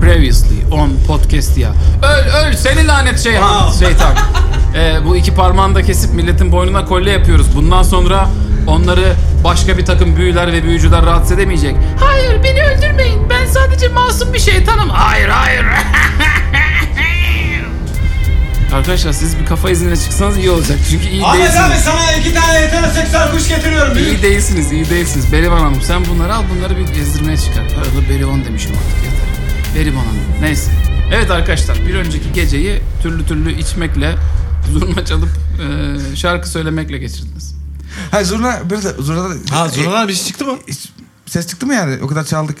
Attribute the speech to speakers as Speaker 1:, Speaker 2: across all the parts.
Speaker 1: previously on Podcastia. Öl öl seni lanet şeyhan. Şeytan. Ee, bu iki parmağını da kesip milletin boynuna kolye yapıyoruz. Bundan sonra onları başka bir takım büyüler ve büyücüler rahatsız edemeyecek. Hayır beni öldürmeyin. Ben sadece masum bir şeytanım. Hayır hayır. Arkadaşlar siz bir kafa izine çıksanız iyi olacak. Çünkü iyi
Speaker 2: Ahmet abi
Speaker 1: değilsiniz.
Speaker 2: sana iki tane heteroseksüel kuş getiriyorum.
Speaker 1: İyi değilsiniz, iyi değilsiniz. Berivan Hanım sen bunları al, bunları bir gezdirmeye çıkar. Arada Berivan demişim artık yeter. Berivan Hanım, neyse. Evet arkadaşlar, bir önceki geceyi türlü türlü içmekle, zurna çalıp eee, şarkı söylemekle geçirdiniz.
Speaker 3: Ha zurna böyle de zurna da-
Speaker 2: Ha zurnadan bir şey çıktı mı?
Speaker 3: E, ses çıktı mı yani? O kadar çaldık.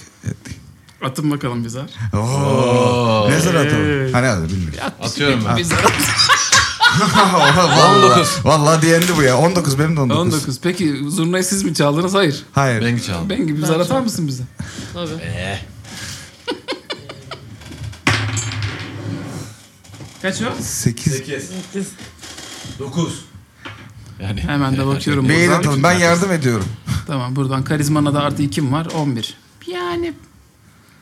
Speaker 1: Atın bakalım bize.
Speaker 3: Oo. Ne zurna atalım? Hani adı bilmiyorum.
Speaker 2: Atıyorum ben.
Speaker 1: Bize.
Speaker 3: Vallahi-
Speaker 2: 19.
Speaker 3: Vallahi diyendi bu ya. 19 benim de 19.
Speaker 1: 19. Peki zurnayı siz mi çaldınız? Hayır.
Speaker 3: Hayır.
Speaker 2: Ben çaldım.
Speaker 1: Ben gibi zar atar mısın bize?
Speaker 4: Tabii.
Speaker 1: Kaç o?
Speaker 3: 8.
Speaker 2: 9. Yani
Speaker 1: Hemen de bakıyorum
Speaker 3: Beyin
Speaker 1: buradan.
Speaker 3: atalım. Ben yardım ediyorum.
Speaker 1: Tamam buradan karizmana da artı 2'm var. 11. Yani...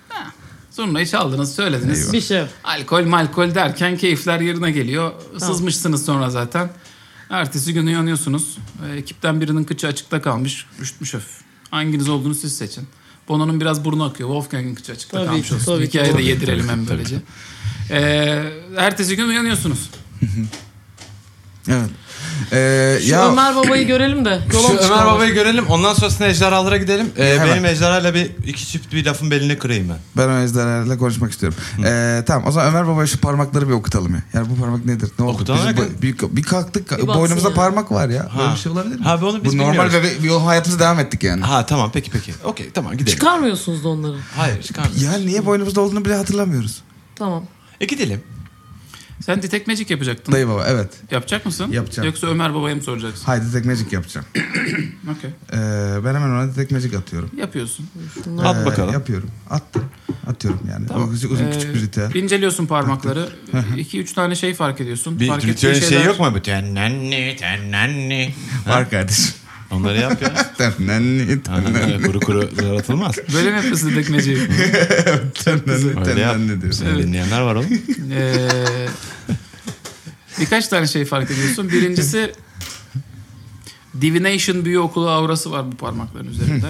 Speaker 1: Ha. Zurnayı çaldınız, söylediniz.
Speaker 4: Bir şey.
Speaker 1: Alkol malkol derken keyifler yerine geliyor. Sızmışsınız sonra zaten. Ertesi gün uyanıyorsunuz. Ee, ekipten birinin kıçı açıkta kalmış. Üşütmüş öf. Hanginiz olduğunu siz seçin. Bono'nun biraz burnu akıyor. Wolfgang'in kıçı açıkta
Speaker 4: Tabii
Speaker 1: kalmış
Speaker 4: ki,
Speaker 1: olsun.
Speaker 4: tabii ki.
Speaker 1: Hikayeyi de
Speaker 4: Tabii ki,
Speaker 1: yedirelim hem böylece. Ee, ertesi gün uyanıyorsunuz.
Speaker 3: Evet. Ee,
Speaker 4: Şu
Speaker 3: ya
Speaker 4: Ömer babayı görelim de.
Speaker 2: Şu
Speaker 4: Yola mı
Speaker 2: Ömer
Speaker 4: çıkalım?
Speaker 2: Baba'yı görelim. Ondan sonrasında ejderhalara gidelim. Ee,
Speaker 3: Hemen.
Speaker 2: benim ejderhayla bir iki çift bir lafın belini kırayım ben.
Speaker 3: ben o ejderhalarla konuşmak istiyorum. Ee, tamam o zaman Ömer Baba'ya şu parmakları bir okutalım ya. Yani bu parmak nedir? Ne oldu?
Speaker 2: Okutalım
Speaker 3: Biz
Speaker 2: ya.
Speaker 3: bu- bir, bir kalktık
Speaker 4: Bir baksın
Speaker 3: boynumuzda
Speaker 4: ya.
Speaker 3: parmak var ya.
Speaker 2: Ha.
Speaker 3: Böyle bir şey olabilir mi?
Speaker 2: Ha, bir onu biz
Speaker 3: bu normal
Speaker 2: bilmiyoruz.
Speaker 3: ve bir yol hayatımıza devam ettik yani.
Speaker 2: Ha tamam peki peki. Okey tamam gidelim.
Speaker 4: Çıkarmıyorsunuz da onları.
Speaker 2: Hayır çıkarmıyoruz.
Speaker 3: Ya niye boynumuzda olduğunu bile hatırlamıyoruz.
Speaker 4: Tamam.
Speaker 2: E gidelim.
Speaker 1: Sen detect magic yapacaktın.
Speaker 3: Dayı baba evet.
Speaker 1: Yapacak mısın?
Speaker 3: Yapacağım.
Speaker 1: Yoksa Ömer babaya mı soracaksın?
Speaker 3: Haydi Detect Magic yapacağım.
Speaker 1: Okey.
Speaker 3: Ee, ben hemen ona Detect Magic atıyorum. Ee,
Speaker 1: Yapıyorsun.
Speaker 4: Şunlar.
Speaker 2: At bakalım. Ee,
Speaker 3: Yapıyorum. Attım. Atıyorum yani. O küçük, uzun küçük bir ritüel.
Speaker 1: İnceliyorsun Ee, parmakları. 2-3 tane şey fark ediyorsun.
Speaker 2: Bir
Speaker 1: fark
Speaker 2: ritüelin
Speaker 3: şey
Speaker 1: ettiğin
Speaker 2: şeyi
Speaker 1: şeyler-
Speaker 2: yok mu? Bu Tennenni tennenni.
Speaker 3: Var kardeşim.
Speaker 2: Onları yap ya.
Speaker 3: Tennenni,
Speaker 2: Ha, kuru kuru zar atılmaz.
Speaker 1: Böyle mi yapıyorsun detect magic'i?
Speaker 3: tennenni,
Speaker 2: Öyle yap.
Speaker 3: tennenni diyor.
Speaker 2: Seni dinleyenler var oğlum.
Speaker 1: Ee, birkaç tane şey fark ediyorsun. Birincisi divination büyü okulu aurası var bu parmakların üzerinde.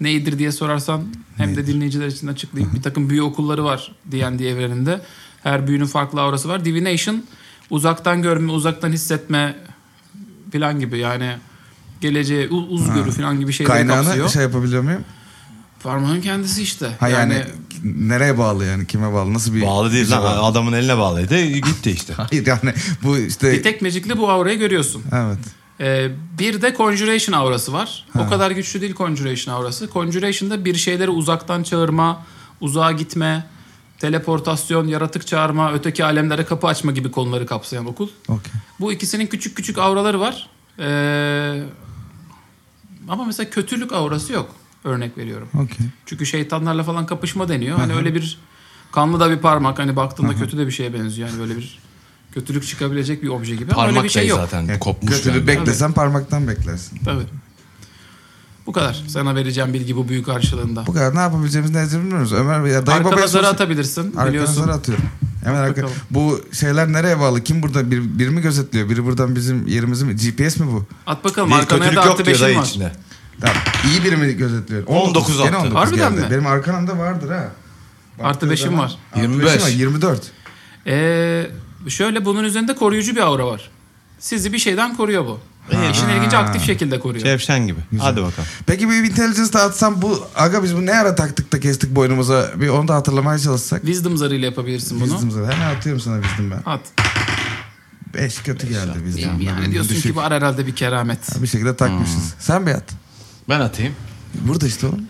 Speaker 1: Neyidir diye sorarsan hem de dinleyiciler için açıklayayım. Bir takım büyü okulları var D&D evreninde. Her büyünün farklı aurası var. Divination uzaktan görme, uzaktan hissetme falan gibi yani geleceğe u- uzgörü falan gibi şeyleri kapsıyor.
Speaker 3: Kaynağını şey yapabiliyor muyum?
Speaker 1: Parmağın kendisi işte.
Speaker 3: Ha yani,
Speaker 1: yani
Speaker 3: nereye bağlı yani? Kime bağlı? Nasıl bir...
Speaker 2: Bağlı değil lan. Adamın eline bağlıydı. Gitti işte.
Speaker 3: Hayır yani bu işte...
Speaker 1: bir tek magic'le bu aurayı görüyorsun.
Speaker 3: Evet.
Speaker 1: Ee, bir de Conjuration aurası var. O kadar güçlü değil Conjuration aurası. Conjuration'da bir şeyleri uzaktan çağırma, uzağa gitme, teleportasyon, yaratık çağırma, öteki alemlere kapı açma gibi konuları kapsayan okul.
Speaker 3: Okey.
Speaker 1: Bu ikisinin küçük küçük auraları var. Ee, ama mesela kötülük aurası yok. Örnek veriyorum.
Speaker 3: Okey.
Speaker 1: Çünkü şeytanlarla falan kapışma deniyor. Hani öyle bir kanlı da bir parmak. Hani baktığında kötü de bir şeye benziyor. Yani böyle bir kötülük çıkabilecek bir obje gibi. ama öyle bir
Speaker 2: Parmak
Speaker 1: şey
Speaker 2: şey
Speaker 1: yok.
Speaker 2: zaten
Speaker 3: Yani
Speaker 2: kopmuş.
Speaker 3: götünü
Speaker 2: yani.
Speaker 3: beklesen parmaktan beklersin.
Speaker 1: Tabii. Bu kadar. Sana vereceğim bilgi bu büyük karşılığında.
Speaker 3: Bu kadar ne yapabileceğimizi ne edeceğimizi bilmiyoruz. Ömer Bey ya dayı
Speaker 1: Arkana
Speaker 3: babaya
Speaker 1: zarı
Speaker 3: sorsak-
Speaker 1: atabilirsin
Speaker 3: Arkadan
Speaker 1: biliyorsun.
Speaker 3: zar atıyorum. Hemen arka.
Speaker 1: Bakalım.
Speaker 3: Bu şeyler nereye bağlı? Kim burada? Bir, biri mi gözetliyor? Biri buradan bizim yerimizi mi? GPS mi bu?
Speaker 1: At bakalım
Speaker 2: Bir
Speaker 1: arkana da
Speaker 2: kötülük
Speaker 1: artı
Speaker 2: yok diyor
Speaker 1: beşin
Speaker 2: dayı
Speaker 1: var.
Speaker 2: içinde.
Speaker 3: Tamam. İyi biri mi gözetliyor?
Speaker 2: 19
Speaker 3: Gene
Speaker 2: attı.
Speaker 3: 19
Speaker 1: Harbiden
Speaker 3: geldi.
Speaker 1: mi?
Speaker 3: Benim arkamda vardır ha.
Speaker 1: Artı beşim var.
Speaker 3: Artı
Speaker 2: 25.
Speaker 3: beşim var, 24.
Speaker 1: Ee, şöyle bunun üzerinde koruyucu bir aura var. Sizi bir şeyden koruyor bu. İşin ilginci aktif şekilde koruyor.
Speaker 2: Şevşen gibi. Hadi bakalım.
Speaker 3: Peki bir intelligence de atsam bu aga biz bu ne ara taktık da kestik boynumuza bir onu da hatırlamaya çalışsak.
Speaker 1: Wisdom zarıyla yapabilirsin bunu.
Speaker 3: Wisdom zaten. Hemen atıyorum sana wisdom ben.
Speaker 1: At.
Speaker 3: 5 kötü geldi wisdom.
Speaker 1: Yani
Speaker 3: Ben
Speaker 1: diyorsun
Speaker 3: düşük.
Speaker 1: ki var herhalde bir keramet.
Speaker 3: Bir şekilde takmışız. Sen bir at.
Speaker 2: Ben atayım.
Speaker 3: Burada işte oğlum.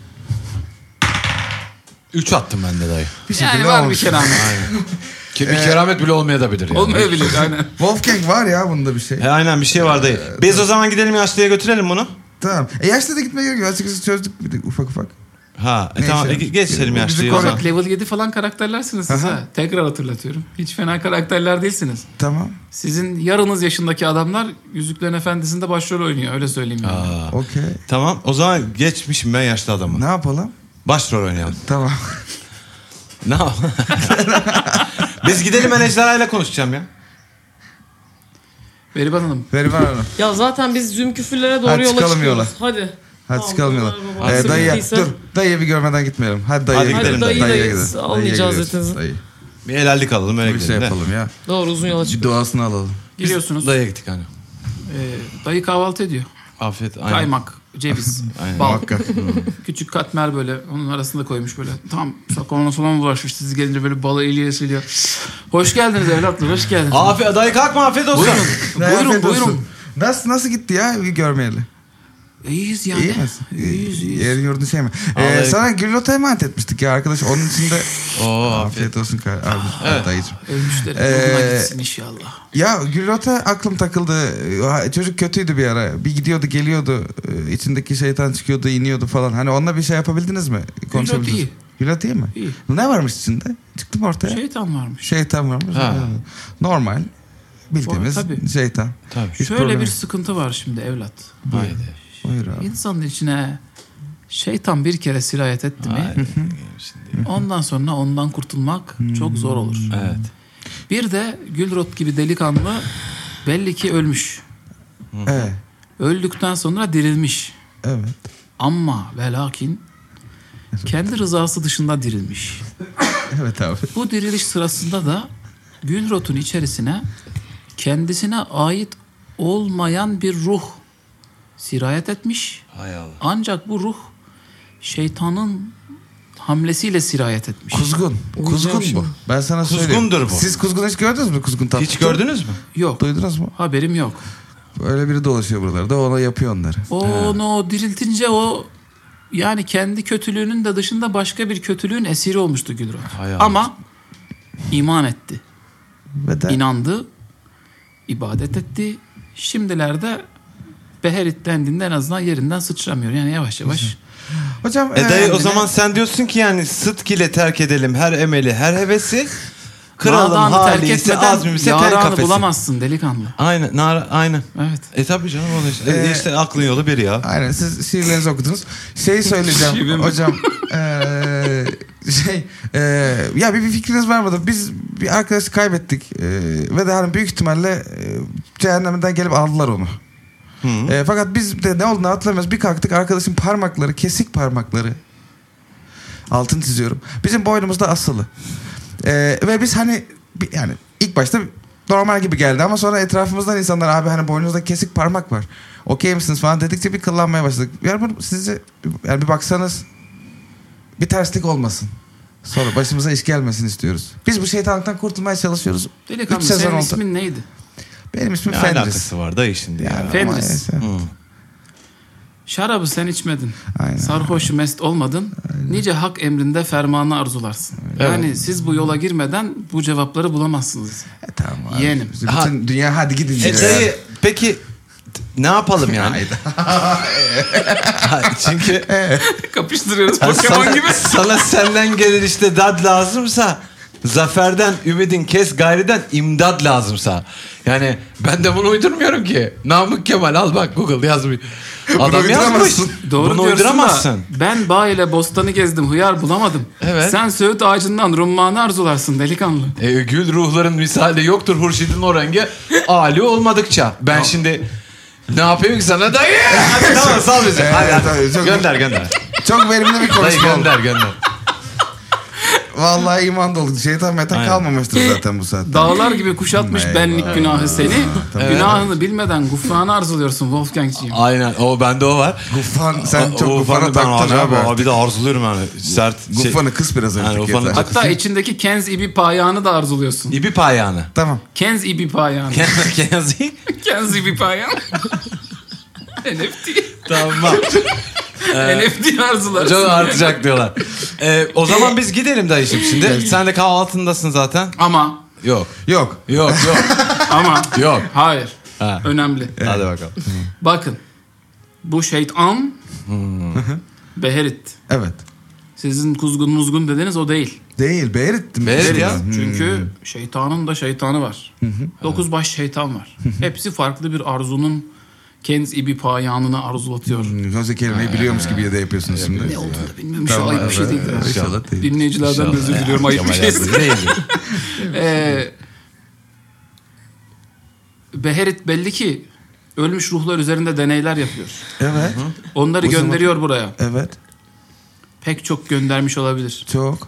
Speaker 2: 3 attım ben de dayı. Ee,
Speaker 3: Bir şekilde
Speaker 1: Yani var bir
Speaker 3: olmuş.
Speaker 1: keramet.
Speaker 5: Ki bir keramet bile olmayabilir yani.
Speaker 1: Olmayabilir aynen.
Speaker 3: Wolfgang var ya bunda bir şey.
Speaker 2: He, aynen bir şey var dayı. Biz o zaman gidelim yaşlıya götürelim bunu.
Speaker 3: Tamam. E yaşta da gitmeye gerek yok. Açıkçası çözdük bir de ufak ufak.
Speaker 2: Ha e,
Speaker 3: Neyse.
Speaker 2: tamam e, geçelim
Speaker 3: Bu bizi
Speaker 2: yaşlıya o zaman.
Speaker 3: korkak-
Speaker 1: Level 7 falan karakterlersiniz siz ha. Tekrar hatırlatıyorum. Hiç fena karakterler değilsiniz.
Speaker 3: Tamam.
Speaker 1: Sizin yarınız yaşındaki adamlar Yüzüklerin Efendisi'nde başrol oynuyor öyle söyleyeyim yani.
Speaker 2: Aa,
Speaker 3: Okey.
Speaker 2: Tamam o zaman geçmişim ben yaşlı adamı.
Speaker 3: Ne yapalım?
Speaker 2: Başrol oynayalım.
Speaker 3: Tamam.
Speaker 2: Ne yap- Biz gidelim ben ejderhayla konuşacağım ya.
Speaker 1: Veriban Hanım.
Speaker 3: Verivan Hanım.
Speaker 4: Ya zaten biz züm küfürlere doğru
Speaker 3: Hadi
Speaker 4: yola
Speaker 3: çıkalım
Speaker 4: çıkıyoruz.
Speaker 3: yola.
Speaker 4: Hadi.
Speaker 3: Hadi
Speaker 4: Tamam,
Speaker 3: çıkalım yola.
Speaker 4: beraber baba.
Speaker 3: Ee,
Speaker 4: Nasıl
Speaker 3: dayıya
Speaker 4: bittiyse-
Speaker 3: dur. Dayıya bir görmeden gitmeyelim. Hadi dayıya
Speaker 2: Hadi
Speaker 3: gidelim.
Speaker 2: gidelim
Speaker 4: dayıyı
Speaker 3: Dayıya
Speaker 4: da
Speaker 3: gidelim. Dayıya
Speaker 4: almayacağız
Speaker 3: gidiyoruz.
Speaker 4: zaten.
Speaker 3: Dayı.
Speaker 2: Bir helallik alalım öyle
Speaker 3: Bir şey
Speaker 2: gidelim. de.
Speaker 3: yapalım ya.
Speaker 4: Doğru uzun yola
Speaker 3: Bir
Speaker 4: çık.
Speaker 3: duasını alalım.
Speaker 1: Giriyorsunuz.
Speaker 2: Dayıya gittik hani.
Speaker 1: Ee, dayı kahvaltı ediyor.
Speaker 2: Afiyet. Aynen.
Speaker 1: Kaymak, ceviz,
Speaker 2: Aynen.
Speaker 1: bal.
Speaker 3: Muhakkak.
Speaker 1: Küçük katmer böyle onun arasında koymuş böyle. Tam sakalına falan ulaşmış. Siz gelince böyle balı eliyle siliyor. Hoş geldiniz evlatlar, hoş geldiniz.
Speaker 2: Afiyet. Dayı kalkma afiyet olsun.
Speaker 1: Buyurun, buyurun,
Speaker 3: Afiyet olsun.
Speaker 1: buyurun.
Speaker 3: Nasıl, nasıl gitti ya bir görmeyeli?
Speaker 1: İyiyiz yani.
Speaker 3: İyi misin?
Speaker 1: İyiyiz, iyiyiz.
Speaker 3: Yerin yurdun şey mi? Ee,
Speaker 2: Vallahi-
Speaker 3: sana güllota emanet etmiştik ya arkadaş. Onun için de
Speaker 2: Oo afiyet.
Speaker 3: afiyet olsun kar- abi, dayıcığım.
Speaker 1: Ölmüşlerin
Speaker 3: Ee,
Speaker 1: yoluna gitsin inşallah.
Speaker 3: Ya Gülota aklım takıldı. Ha, Çocuk kötüydü bir ara. Bir gidiyordu geliyordu. Ee, içindeki şeytan çıkıyordu iniyordu falan. Hani onunla bir şey yapabildiniz mi? Konuşabildiniz
Speaker 1: iyi.
Speaker 3: mi? Gülota iyi mi?
Speaker 1: İyi.
Speaker 3: Ne varmış içinde? Çıktım ortaya.
Speaker 1: Şeytan varmış.
Speaker 3: Şeytan varmış.
Speaker 2: Şey- Ha.
Speaker 3: Normal. Bildiğimiz
Speaker 1: O, tabii.
Speaker 3: şeytan.
Speaker 2: Tabii.
Speaker 3: Hiç
Speaker 1: Şöyle
Speaker 3: problemi
Speaker 1: bir
Speaker 3: yok.
Speaker 1: sıkıntı var şimdi evlat.
Speaker 2: Haydi.
Speaker 3: Buyur abi.
Speaker 1: İnsanın içine şeytan bir kere sirayet etti mi?
Speaker 2: Haydi. Şimdi.
Speaker 1: Ondan sonra ondan kurtulmak çok zor olur.
Speaker 2: Evet.
Speaker 1: Bir de Gülrot gibi delikanlı belli ki ölmüş.
Speaker 2: Şey-
Speaker 3: Evet.
Speaker 1: Öldükten sonra dirilmiş.
Speaker 3: Evet.
Speaker 1: Ama ve lakin kendi rızası dışında dirilmiş.
Speaker 3: Evet abi.
Speaker 1: Bu diriliş sırasında da Gülrot'un içerisine kendisine ait olmayan bir ruh sirayet etmiş.
Speaker 2: Hay Allah.
Speaker 1: Ancak bu ruh şeytanın hamlesiyle sirayet etmiş.
Speaker 3: Kuzgun.
Speaker 4: Uyuyacağım
Speaker 3: Kuzgun bu.
Speaker 4: şimdi.
Speaker 3: Ben sana söyleyeyim.
Speaker 2: Kuzgundur bu.
Speaker 3: Siz kuzgun hiç gördünüz mü kuzgun tatlı?
Speaker 2: Hiç gördünüz mü?
Speaker 1: Yok.
Speaker 3: Duydunuz mu?
Speaker 1: Haberim yok.
Speaker 3: Öyle biri dolaşıyor buralarda. Ona yapıyor onları.
Speaker 1: Onu diriltince o yani kendi kötülüğünün de dışında başka bir kötülüğün esiri olmuştu Gülrot.
Speaker 2: Hay Allah.
Speaker 1: Ama iman etti.
Speaker 3: Ve de
Speaker 1: inandı, ibadet etti. Şimdilerde Beherit dendiğinde en azından yerinden sıçramıyor. Yani yavaş yavaş.
Speaker 3: Hocam
Speaker 2: E dayı o
Speaker 3: önemli.
Speaker 2: zaman sen diyorsun ki yani sıdk ile terk edelim her emeli her hevesi. Kralım
Speaker 1: Nadanı terk
Speaker 2: hali ise
Speaker 1: etmeden
Speaker 2: azmimse tel
Speaker 1: yaranı
Speaker 2: kafesi.
Speaker 1: bulamazsın delikanlı.
Speaker 2: Aynen. Nara, aynen.
Speaker 1: Evet.
Speaker 2: E tabii canım o da işte. E,
Speaker 3: Ee,
Speaker 2: işte aklın yolu bir ya.
Speaker 3: Aynen siz şiirlerinizi okudunuz.
Speaker 1: Şive
Speaker 3: Şeyi söyleyeceğim
Speaker 1: mi?
Speaker 3: hocam. eee, şey eee, ya bir, bir fikriniz var mıdır? Biz bir arkadaşı kaybettik eee, ve de hani büyük ihtimalle eee, cehennemden gelip aldılar onu.
Speaker 2: Hı.
Speaker 3: Eee, Ee, fakat biz de ne olduğunu hatırlamıyoruz. Bir kalktık arkadaşın parmakları kesik parmakları. Altın çiziyorum. Bizim boynumuzda asılı. Eee, ve biz hani bir- yani ilk başta normal gibi geldi ama sonra etrafımızdan insanlar abi hani boynunuzda kesik parmak var. Okey misiniz falan dedikçe bir kıllanmaya başladık. Yani bunu sizce yani bir baksanız bir terslik olmasın. Sonra başımıza iş gelmesin istiyoruz. Biz bu şeytanlıktan kurtulmaya çalışıyoruz.
Speaker 1: Delikanlı
Speaker 3: Üç sezon
Speaker 1: senin
Speaker 3: oldu.
Speaker 1: ismin neydi?
Speaker 3: Benim ismim
Speaker 2: Ne
Speaker 3: Fenris.
Speaker 2: alakası var dayı şimdi ya.
Speaker 3: Yani
Speaker 1: Fenris.
Speaker 3: ama neyse.
Speaker 2: Hı.
Speaker 1: Şarabı sen içmedin.
Speaker 3: Aynen.
Speaker 1: Sarhoş mest olmadın. Nice hak emrinde fermanı arzularsın. Yani siz bu yola girmeden bu cevapları bulamazsınız.
Speaker 3: E, tamam abi.
Speaker 1: Yeğenim.
Speaker 3: Bütün
Speaker 2: Ha.
Speaker 3: dünya hadi gidin diyor
Speaker 2: E
Speaker 3: ya.
Speaker 2: dayı peki t- ne yapalım yani? Çünkü
Speaker 1: Kapıştırıyoruz
Speaker 2: hani sana,
Speaker 1: Pokemon gibi.
Speaker 2: sana senden gelir işte dad lazımsa zaferden ümidin kes gayriden imdad lazımsa. Yani
Speaker 5: Ben de bunu uydurmuyorum ki. Namık Kemal al bak Google yazmış. Adam yazmış.
Speaker 3: uyduramazsın.
Speaker 1: Doğru
Speaker 2: bunu
Speaker 1: diyorsun
Speaker 2: uyduramazsın.
Speaker 1: da ben bağ ile bostanı gezdim hıyar bulamadım.
Speaker 5: Evet.
Speaker 1: Sen söğüt ağacından rummanı arzularsın delikanlı.
Speaker 5: E, gül ruhların misali yoktur Hurşid'in o renge. Ali olmadıkça. Ben şimdi ne yapayım ki sana dayı?
Speaker 2: Hadi tamam sal bizi.
Speaker 3: Evet,
Speaker 2: Hadi, hadi.
Speaker 3: tabii, çok-
Speaker 2: gönder gönder.
Speaker 3: Çok verimli bir
Speaker 5: Dayı
Speaker 3: konuşma oldu.
Speaker 5: gönder gönder.
Speaker 3: Vallahi iman dolu. Şeytan metan
Speaker 2: Aynen.
Speaker 3: kalmamıştır zaten bu saatte.
Speaker 1: Dağlar gibi kuşatmış
Speaker 3: Eyvah.
Speaker 1: benlik günahı seni. Günahını bilmeden gufranı arzuluyorsun Wolfgang'ciğim.
Speaker 5: Aynen o bende o var.
Speaker 3: Gufan sen
Speaker 2: O-
Speaker 3: çok
Speaker 2: o
Speaker 3: gufana
Speaker 2: ufanı ben
Speaker 3: taktın
Speaker 2: acayip-
Speaker 3: abi.
Speaker 2: Abi de arzuluyorum yani. Sert. şey-
Speaker 3: Gufanı kıs biraz
Speaker 2: Yani
Speaker 3: artık
Speaker 2: gufanı-
Speaker 3: yeter.
Speaker 1: Hatta içindeki Kenz ibi payağını da arzuluyorsun.
Speaker 2: İbi payağını.
Speaker 3: Tamam.
Speaker 1: Kenz ibi payağını.
Speaker 2: Kendi kendisi.
Speaker 1: Kenz ibi payağını. NFT.
Speaker 2: Tamam.
Speaker 3: Ee,
Speaker 1: NFT arzularsın.
Speaker 2: Çok artacak diyorlar. Ee, o zaman biz gidelim dayıcım şimdi. Sen de kahvaltındasın zaten.
Speaker 1: Ama
Speaker 5: Yok
Speaker 3: Yok.
Speaker 5: yok yok
Speaker 1: ama
Speaker 5: yok.
Speaker 1: hayır.
Speaker 2: Ha.
Speaker 1: Önemli.
Speaker 2: Hadi bakalım.
Speaker 1: Bakın. Bu şeytan
Speaker 3: Hmm.
Speaker 1: Beherit.
Speaker 3: Evet.
Speaker 1: Sizin kuzgun muzgun dediniz o değil.
Speaker 3: Değil. Beğerittim.
Speaker 2: Beğerit
Speaker 3: Beğerit
Speaker 2: ya.
Speaker 3: ben.
Speaker 1: Çünkü şeytanın da şeytanı var. Dokuz baş şeytan var. Hepsi farklı bir arzunun Kendiniz ibi payanını arzulatıyor.
Speaker 3: Söz kelimeyi biliyormuş gibi ya da yapıyorsunuz şimdi.
Speaker 1: Ne olduğunu da bilmiyorum. Şu
Speaker 3: Tamam,
Speaker 1: ayıp bir şey değil.
Speaker 3: evet, İnşallah değil.
Speaker 1: Dinleyicilerden de özür diliyorum. Ayıp bir şey. Ee, Beherit belli ki ölmüş ruhlar üzerinde deneyler yapıyor.
Speaker 3: Evet.
Speaker 1: Onları
Speaker 3: O zaman-
Speaker 1: gönderiyor buraya.
Speaker 3: Evet.
Speaker 1: Pek çok göndermiş olabilir.
Speaker 3: Çok.